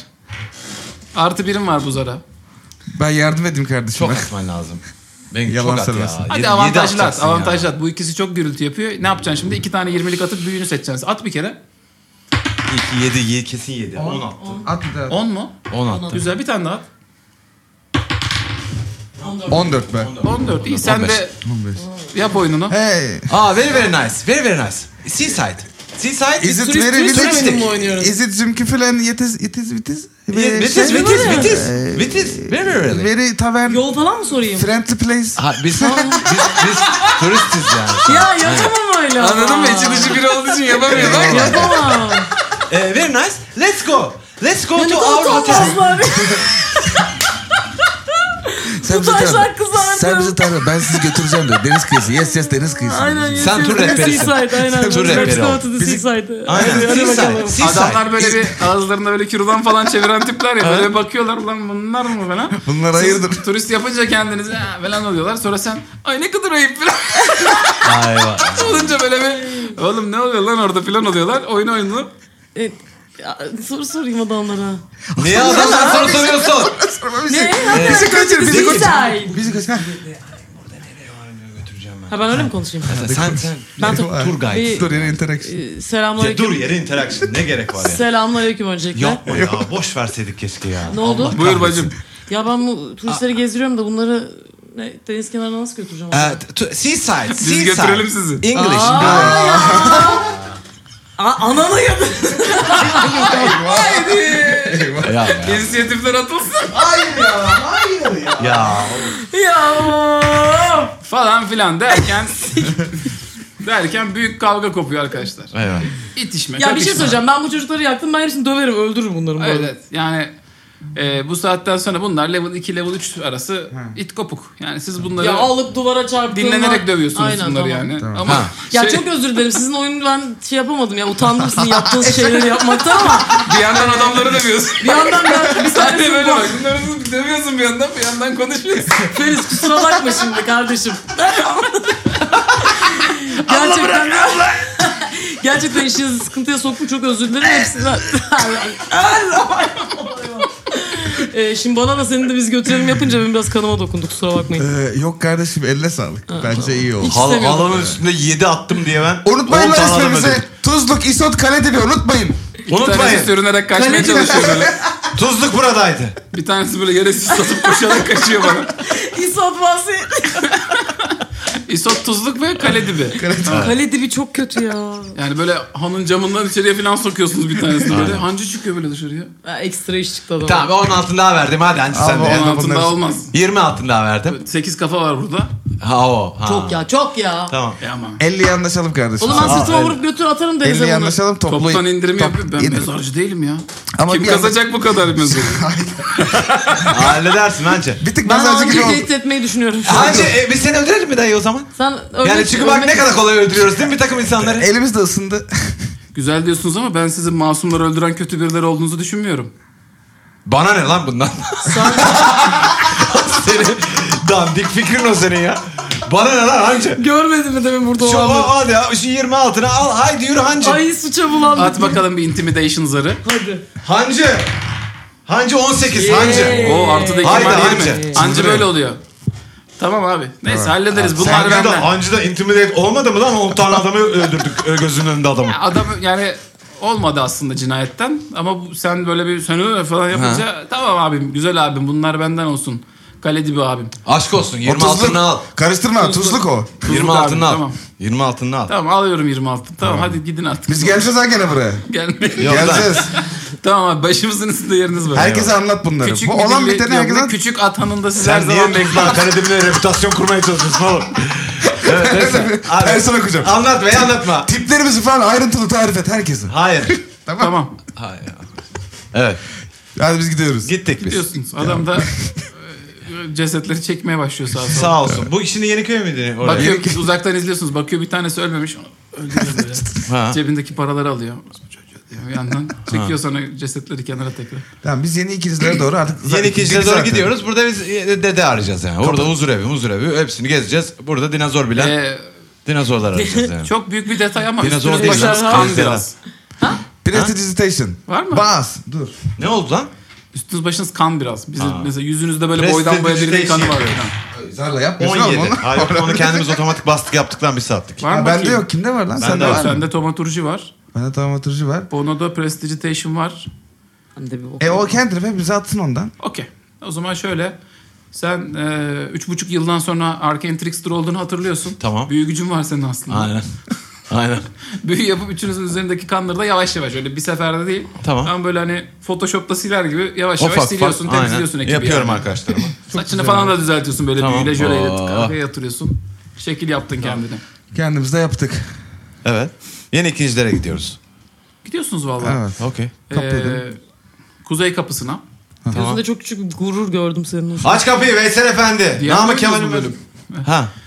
Speaker 1: Artı birim var bu zara.
Speaker 3: Ben yardım edeyim kardeşim.
Speaker 2: Çok atman lazım. Ben
Speaker 3: Yalan
Speaker 2: çok at ya.
Speaker 3: söylemesin.
Speaker 1: Hadi
Speaker 2: Yedi- yedi
Speaker 1: avantajlı at,
Speaker 2: atacaksın
Speaker 1: avantajlı
Speaker 2: ya.
Speaker 1: at. Bu ikisi çok gürültü yapıyor. Ne yapacaksın şimdi? İki tane 20'lik atıp büyüğünü seçeceksin. At bir kere.
Speaker 2: İki, yedi, ye- kesin yedi. 10 attı.
Speaker 3: At bir daha.
Speaker 1: 10 mu?
Speaker 2: 10 attı.
Speaker 1: Güzel bir tane daha at.
Speaker 3: 14 be.
Speaker 1: 14. İyi sen de
Speaker 2: 15.
Speaker 1: yap oyununu.
Speaker 3: Hey.
Speaker 2: Ah, very very nice. Very very nice. Seaside.
Speaker 5: Seaside
Speaker 3: Is it
Speaker 8: Turist-
Speaker 3: very
Speaker 8: turist
Speaker 3: village?
Speaker 8: turizmle oynuyoruz.
Speaker 3: Is it zümküfül and it is it is it is?
Speaker 5: Vitis, vitis,
Speaker 3: Şey-
Speaker 5: vitis,
Speaker 4: mi?
Speaker 5: vitis,
Speaker 3: Ee,
Speaker 5: vitis. Very really.
Speaker 3: Very tavern.
Speaker 4: Yol falan mı sorayım?
Speaker 3: Friendly place.
Speaker 2: Ha, biz, biz, biz turistiz yani.
Speaker 4: Ya yapamam öyle. ama.
Speaker 8: Anladın mı? İçi dışı biri olduğu için yapamıyor. Bak ya.
Speaker 4: Yapamam.
Speaker 5: Ee, very nice. Let's go. Let's go
Speaker 4: Yani
Speaker 5: to our hotel.
Speaker 4: utanmazlar.
Speaker 3: Sen
Speaker 4: bizi Utançlar tanı. kızlar
Speaker 3: Sen
Speaker 4: Sen bizi
Speaker 3: bizi tanı. Ben sizi götüreceğim diyor. Deniz kıyısı. Yes yes deniz kıyısı.
Speaker 4: Aynen.
Speaker 2: Sen tur
Speaker 4: yes, yes,
Speaker 2: rehberisin.
Speaker 4: Seaside, aynen.
Speaker 2: tur
Speaker 4: Let's
Speaker 2: rehberi
Speaker 4: go
Speaker 2: ol.
Speaker 4: to the seaside.
Speaker 5: Aynen.
Speaker 4: Hadi, hadi
Speaker 5: Seaside.
Speaker 4: bakalım.
Speaker 5: Seaside.
Speaker 1: Adamlar böyle bir ağızlarında böyle kürdan falan çeviren tipler ya. Böyle bir bakıyorlar ulan bunlar mı falan.
Speaker 3: Bunlar
Speaker 1: Siz
Speaker 3: hayırdır?
Speaker 1: Turist yapınca kendinizi "Ha" falan oluyorlar. Sonra sen ay ne kadar ayıp falan
Speaker 2: Ay, vay.
Speaker 1: olunca böyle bir oğlum ne oluyor lan orada falan oluyorlar. Oyun oyunu.
Speaker 4: Evet. E, Ya, Soru sorayım adamlara.
Speaker 5: Niye adamlar soru soruyorsun?
Speaker 4: Ne?
Speaker 3: Bizi kaçır bizi kaçır.
Speaker 4: Seaside.
Speaker 3: Bizi kaçır. Ha,
Speaker 4: Ha ben öyle mi konuşayım?
Speaker 2: sen sen
Speaker 4: Ben
Speaker 3: var.
Speaker 2: tur guide.
Speaker 4: Bir-
Speaker 3: Dur yine interaction.
Speaker 4: Ee,
Speaker 5: Ya
Speaker 4: Selamünaleyküm.
Speaker 5: dur yere interaction ne gerek var ya?
Speaker 4: Selamünaleyküm öncelikle.
Speaker 5: Yapma ya boş verseydik keşke ya.
Speaker 4: Ne oldu?
Speaker 1: Buyur bacım.
Speaker 4: Ya ben bu turistleri gezdiriyorum da bunları ne, deniz kenarına nasıl götüreceğim?
Speaker 2: Ee, tu- seaside.
Speaker 1: Biz götürelim sizi.
Speaker 2: English.
Speaker 4: Aa, ananı yap.
Speaker 2: Ya, ya.
Speaker 1: İnisiyatifler atılsın.
Speaker 2: ya.
Speaker 4: ya.
Speaker 1: Falan filan derken derken büyük kavga kopuyor arkadaşlar.
Speaker 2: Eyvah.
Speaker 1: İtişme,
Speaker 4: Ya bir şey
Speaker 1: kakışma.
Speaker 4: söyleyeceğim. Ben bu çocukları yaktım. Ben hepsini döverim, öldürürüm bunları. bu arada.
Speaker 1: Evet yani e, bu saatten sonra bunlar level 2 level 3 arası it kopuk. Yani siz bunları
Speaker 4: Ya alıp duvara çarptığında...
Speaker 1: dinlenerek dövüyorsunuz
Speaker 4: Aynen,
Speaker 1: bunları
Speaker 4: tamam.
Speaker 1: yani. Ama
Speaker 4: Ya
Speaker 1: şey,
Speaker 4: çok özür dilerim. Sizin oyunu ben şey yapamadım ya. Utandım sizin yaptığınız şeyleri yapmaktan ama
Speaker 1: bir yandan adamları dövüyorsun.
Speaker 4: bir yandan ben bir
Speaker 1: Sen de
Speaker 4: tanesini
Speaker 1: böyle
Speaker 4: bu...
Speaker 1: bak. Bunları dövüyorsun bir yandan bir yandan konuşuyorsun.
Speaker 4: Feriz kusura bakma şimdi kardeşim. Gerçekten Gerçekten işinizi sıkıntıya soktum. Çok özür dilerim. Hepsinden. Ee, şimdi bana da seni de biz götürelim yapınca benim biraz kanıma dokundu. Kusura bakmayın.
Speaker 3: Ee, yok kardeşim eline sağlık. Bence iyi oldu.
Speaker 4: Hiç
Speaker 5: Hal,
Speaker 4: istemiyorum.
Speaker 5: halanın üstünde 7 attım diye ben.
Speaker 3: Unutmayın
Speaker 5: on
Speaker 3: lan
Speaker 5: tane adam
Speaker 3: ismimizi.
Speaker 5: ödedim.
Speaker 3: Tuzluk, isot, kaledeli unutmayın.
Speaker 1: Bir tanesi
Speaker 5: Unutmayın.
Speaker 1: sürünerek kaçmaya çalışıyor böyle.
Speaker 5: Tuzluk buradaydı.
Speaker 1: Bir tanesi böyle yere sis atıp koşarak kaçıyor bana.
Speaker 4: İsot bahsi.
Speaker 1: İsot tuzluk ve kale dibi.
Speaker 4: Kale dibi çok kötü ya.
Speaker 1: Yani böyle hanın camından içeriye falan sokuyorsunuz bir tanesini böyle. Hancı çıkıyor böyle dışarıya.
Speaker 4: Ha, Ekstra iş çıktı adama.
Speaker 2: Tamam 10 altın daha verdim hadi hadi sen de.
Speaker 3: Abi, on-
Speaker 1: Onun
Speaker 3: Yanına
Speaker 1: altında
Speaker 3: bunları-
Speaker 1: olmaz.
Speaker 2: 20 altın daha verdim.
Speaker 1: 8 kafa var burada.
Speaker 2: Ha o. Ha.
Speaker 4: Çok ya çok ya.
Speaker 5: Tamam.
Speaker 1: E ama.
Speaker 3: 50'yi anlaşalım kardeşim.
Speaker 4: Oğlum ben sırtıma vurup götür atarım
Speaker 3: 50'yi
Speaker 4: denize bunu.
Speaker 3: anlaşalım toplu.
Speaker 1: Toptan indirim
Speaker 3: top-
Speaker 1: yapıyor. Ben
Speaker 3: indirim.
Speaker 1: mezarcı değilim ya.
Speaker 3: Ama
Speaker 1: Kim
Speaker 3: bir yandan-
Speaker 1: kazacak bu kadar mezarı?
Speaker 5: Halledersin bence.
Speaker 3: Bir tık
Speaker 4: Ben
Speaker 3: pazarcı gibi
Speaker 4: Ankara'yı
Speaker 3: oldu.
Speaker 4: tehdit etmeyi düşünüyorum şu an.
Speaker 5: Hacı e, biz seni öldürelim mi dayı o zaman?
Speaker 4: Sen
Speaker 5: Yani çünkü bak ne kadar kolay öldürüyoruz değil mi bir takım insanları?
Speaker 3: Elimiz de ısındı.
Speaker 1: Güzel diyorsunuz ama ben sizin masumları öldüren kötü birileri olduğunuzu düşünmüyorum.
Speaker 2: Bana ne lan bundan?
Speaker 5: senin dandik fikrin o senin ya. Bana ne lan hancı?
Speaker 4: Görmedin mi demin burada
Speaker 5: Şu, o,
Speaker 4: olanları?
Speaker 5: hadi ya, şu 20 altına al haydi yürü hancı.
Speaker 4: Ay suça bulandım.
Speaker 1: At bakalım bir intimidation zarı.
Speaker 4: Hadi.
Speaker 5: Hancı. Hancı 18 hancı.
Speaker 1: O artı da iki
Speaker 5: Haydi
Speaker 1: var
Speaker 5: anca.
Speaker 1: yirmi. Anca böyle oluyor. Tamam abi. Neyse hallederiz. Bunlar
Speaker 5: Hancı da,
Speaker 1: benden.
Speaker 5: hancı da intimidate olmadı mı lan 10 tane adamı öldürdük
Speaker 2: e,
Speaker 5: ö, gözünün önünde adamı.
Speaker 1: Adam yani olmadı aslında cinayetten ama bu- sen böyle bir sönü falan yapınca tamam abim güzel abim bunlar benden olsun. Kale dibi abim.
Speaker 2: Aşk olsun 20
Speaker 3: Otuzluk.
Speaker 2: altını al.
Speaker 3: Karıştırma tuzluk o.
Speaker 1: Tuzluk
Speaker 2: 20
Speaker 1: abim,
Speaker 2: altını al.
Speaker 1: Tamam.
Speaker 2: 20 altını al.
Speaker 1: Tamam alıyorum 26. Tamam, hadi gidin artık.
Speaker 3: Biz geleceğiz ha gene buraya.
Speaker 1: Gelmeyin.
Speaker 2: Yok lan.
Speaker 3: geleceğiz.
Speaker 1: Tamam abi başımızın üstünde yeriniz var.
Speaker 3: Herkese anlat bunları.
Speaker 1: Küçük
Speaker 3: Bu
Speaker 1: bir
Speaker 3: olan
Speaker 1: dilli-
Speaker 3: biteni
Speaker 1: yok,
Speaker 3: herkese
Speaker 1: bu Küçük atanın da siz her
Speaker 5: Sen
Speaker 1: zaman
Speaker 5: niye
Speaker 1: bekleyin.
Speaker 5: lan Karadim'le reputasyon kurmaya çalışıyorsun oğlum? evet, neyse. Abi,
Speaker 3: Ben sana okuyacağım.
Speaker 5: Anlat be anlatma.
Speaker 3: Tiplerimizi falan ayrıntılı tarif et herkese.
Speaker 5: Hayır.
Speaker 1: Tamam.
Speaker 2: Hay ya. Evet.
Speaker 3: Hadi biz gidiyoruz.
Speaker 5: Gittik biz.
Speaker 1: Diyorsunuz. Adam da e, cesetleri çekmeye başlıyor sağa sola.
Speaker 5: Sağ olsun. Bu şimdi Yeniköy müydü? Oraya?
Speaker 1: Bakıyor uzaktan izliyorsunuz. Bakıyor bir tanesi ölmemiş. Onu öldürüyor böyle.
Speaker 2: Ha.
Speaker 1: Cebindeki paraları alıyor. diyor Bir yandan çekiyor sonra cesetleri kenara tekrar.
Speaker 3: Tamam biz yeni ikizlere doğru artık zaten
Speaker 2: Yeni ikincilere
Speaker 3: gittik
Speaker 2: doğru
Speaker 3: zaten.
Speaker 2: gidiyoruz. Burada biz e, dede arayacağız yani. Orada huzur evi, huzur evi. Hepsini gezeceğiz. Burada dinozor
Speaker 5: E-
Speaker 2: bilen
Speaker 1: Ee,
Speaker 2: dinozorlar arayacağız yani.
Speaker 1: çok büyük bir detay ama
Speaker 2: Biraz
Speaker 1: üstünüz
Speaker 2: zor değil
Speaker 1: başınız
Speaker 2: lan.
Speaker 1: kan
Speaker 2: Ejderha.
Speaker 1: biraz.
Speaker 3: Prestidigitation.
Speaker 1: Var mı?
Speaker 3: Bas. Dur.
Speaker 2: Ne oldu lan?
Speaker 1: Üstünüz başınız kan biraz. Bizim mesela yüzünüzde böyle
Speaker 5: Rest
Speaker 1: boydan boya birinin
Speaker 5: vegetation.
Speaker 3: şey.
Speaker 1: kanı var. Yani.
Speaker 3: Zarla yapmıyorsun oğlum
Speaker 5: 17.
Speaker 3: onu.
Speaker 5: Hayır onu kendimiz otomatik bastık yaptık lan bir saatlik.
Speaker 1: Var mı?
Speaker 3: Ha, bende
Speaker 1: bakayım?
Speaker 3: yok. Kimde var lan?
Speaker 5: Bende
Speaker 3: Sende
Speaker 5: var.
Speaker 3: var. mı?
Speaker 1: Sende tomaturji var.
Speaker 3: Bende tamam oturucu var.
Speaker 1: Bono'da prestigitation var.
Speaker 4: Ben de bir bok-
Speaker 3: E o kendir hepimize atsın ondan.
Speaker 1: Okey. O zaman şöyle. Sen e, üç buçuk yıldan sonra Arcane Trickster olduğunu hatırlıyorsun.
Speaker 2: Tamam.
Speaker 1: Büyü gücün var senin aslında.
Speaker 2: Aynen. Aynen.
Speaker 1: Büyü yapıp üçünüzün üzerindeki kanları da yavaş yavaş öyle bir seferde değil.
Speaker 2: Tamam.
Speaker 1: Ama böyle hani Photoshop'ta siler gibi yavaş yavaş
Speaker 2: Ufak
Speaker 1: siliyorsun,
Speaker 2: ufak,
Speaker 1: temizliyorsun
Speaker 5: Aynen.
Speaker 1: ekibi.
Speaker 5: Yapıyorum
Speaker 1: yani.
Speaker 5: arkadaşlarıma.
Speaker 1: Saçını falan da düzeltiyorsun böyle
Speaker 2: Tamam.
Speaker 1: büyüyle jöleyle
Speaker 2: Aa.
Speaker 1: arkaya yatırıyorsun. Şekil yaptın kendine.
Speaker 3: Kendimiz de yaptık.
Speaker 5: evet. Yeni ikincilere gidiyoruz.
Speaker 1: Gidiyorsunuz vallahi.
Speaker 3: Evet.
Speaker 2: Okey.
Speaker 3: kapı
Speaker 1: Ee,
Speaker 3: edelim.
Speaker 1: kuzey kapısına.
Speaker 4: Gözünde çok küçük bir gurur gördüm senin. o-
Speaker 5: Aç kapıyı Veysel Efendi.
Speaker 1: Diğer
Speaker 5: Namık
Speaker 1: bölüm mü
Speaker 5: Kemal'in
Speaker 1: bu bölüm?
Speaker 5: bölüm.
Speaker 2: Ha.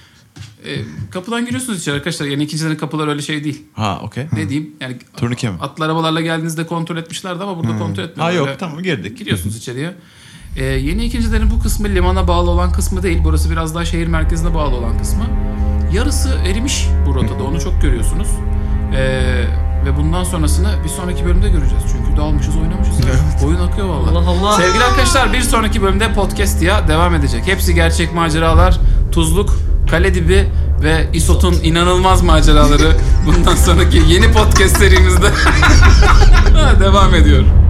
Speaker 1: Ee, kapıdan giriyorsunuz içeri arkadaşlar. Yani ikincilerin kapılar öyle şey değil.
Speaker 2: Ha okey.
Speaker 1: Ne diyeyim? Yani
Speaker 2: Turnike mi?
Speaker 1: atlı arabalarla geldiğinizde kontrol etmişlerdi ama burada kontrol
Speaker 2: Ha
Speaker 1: etmiyorlar.
Speaker 2: yok
Speaker 1: Öyle
Speaker 2: tamam girdik.
Speaker 1: Giriyorsunuz içeriye. Ee, yeni ikincilerin bu kısmı limana bağlı olan kısmı değil. Burası biraz daha şehir merkezine bağlı olan kısmı. Yarısı erimiş bu rotada. Onu çok görüyorsunuz. Ee, ve bundan sonrasını bir sonraki bölümde göreceğiz. Çünkü dalmışız oynamışız. Oyun akıyor vallahi.
Speaker 4: Allah Allah.
Speaker 1: Sevgili arkadaşlar bir sonraki bölümde podcast ya devam edecek. Hepsi gerçek maceralar, tuzluk, kale dibi ve İsot'un inanılmaz maceraları bundan sonraki yeni podcast serimizde devam ediyor.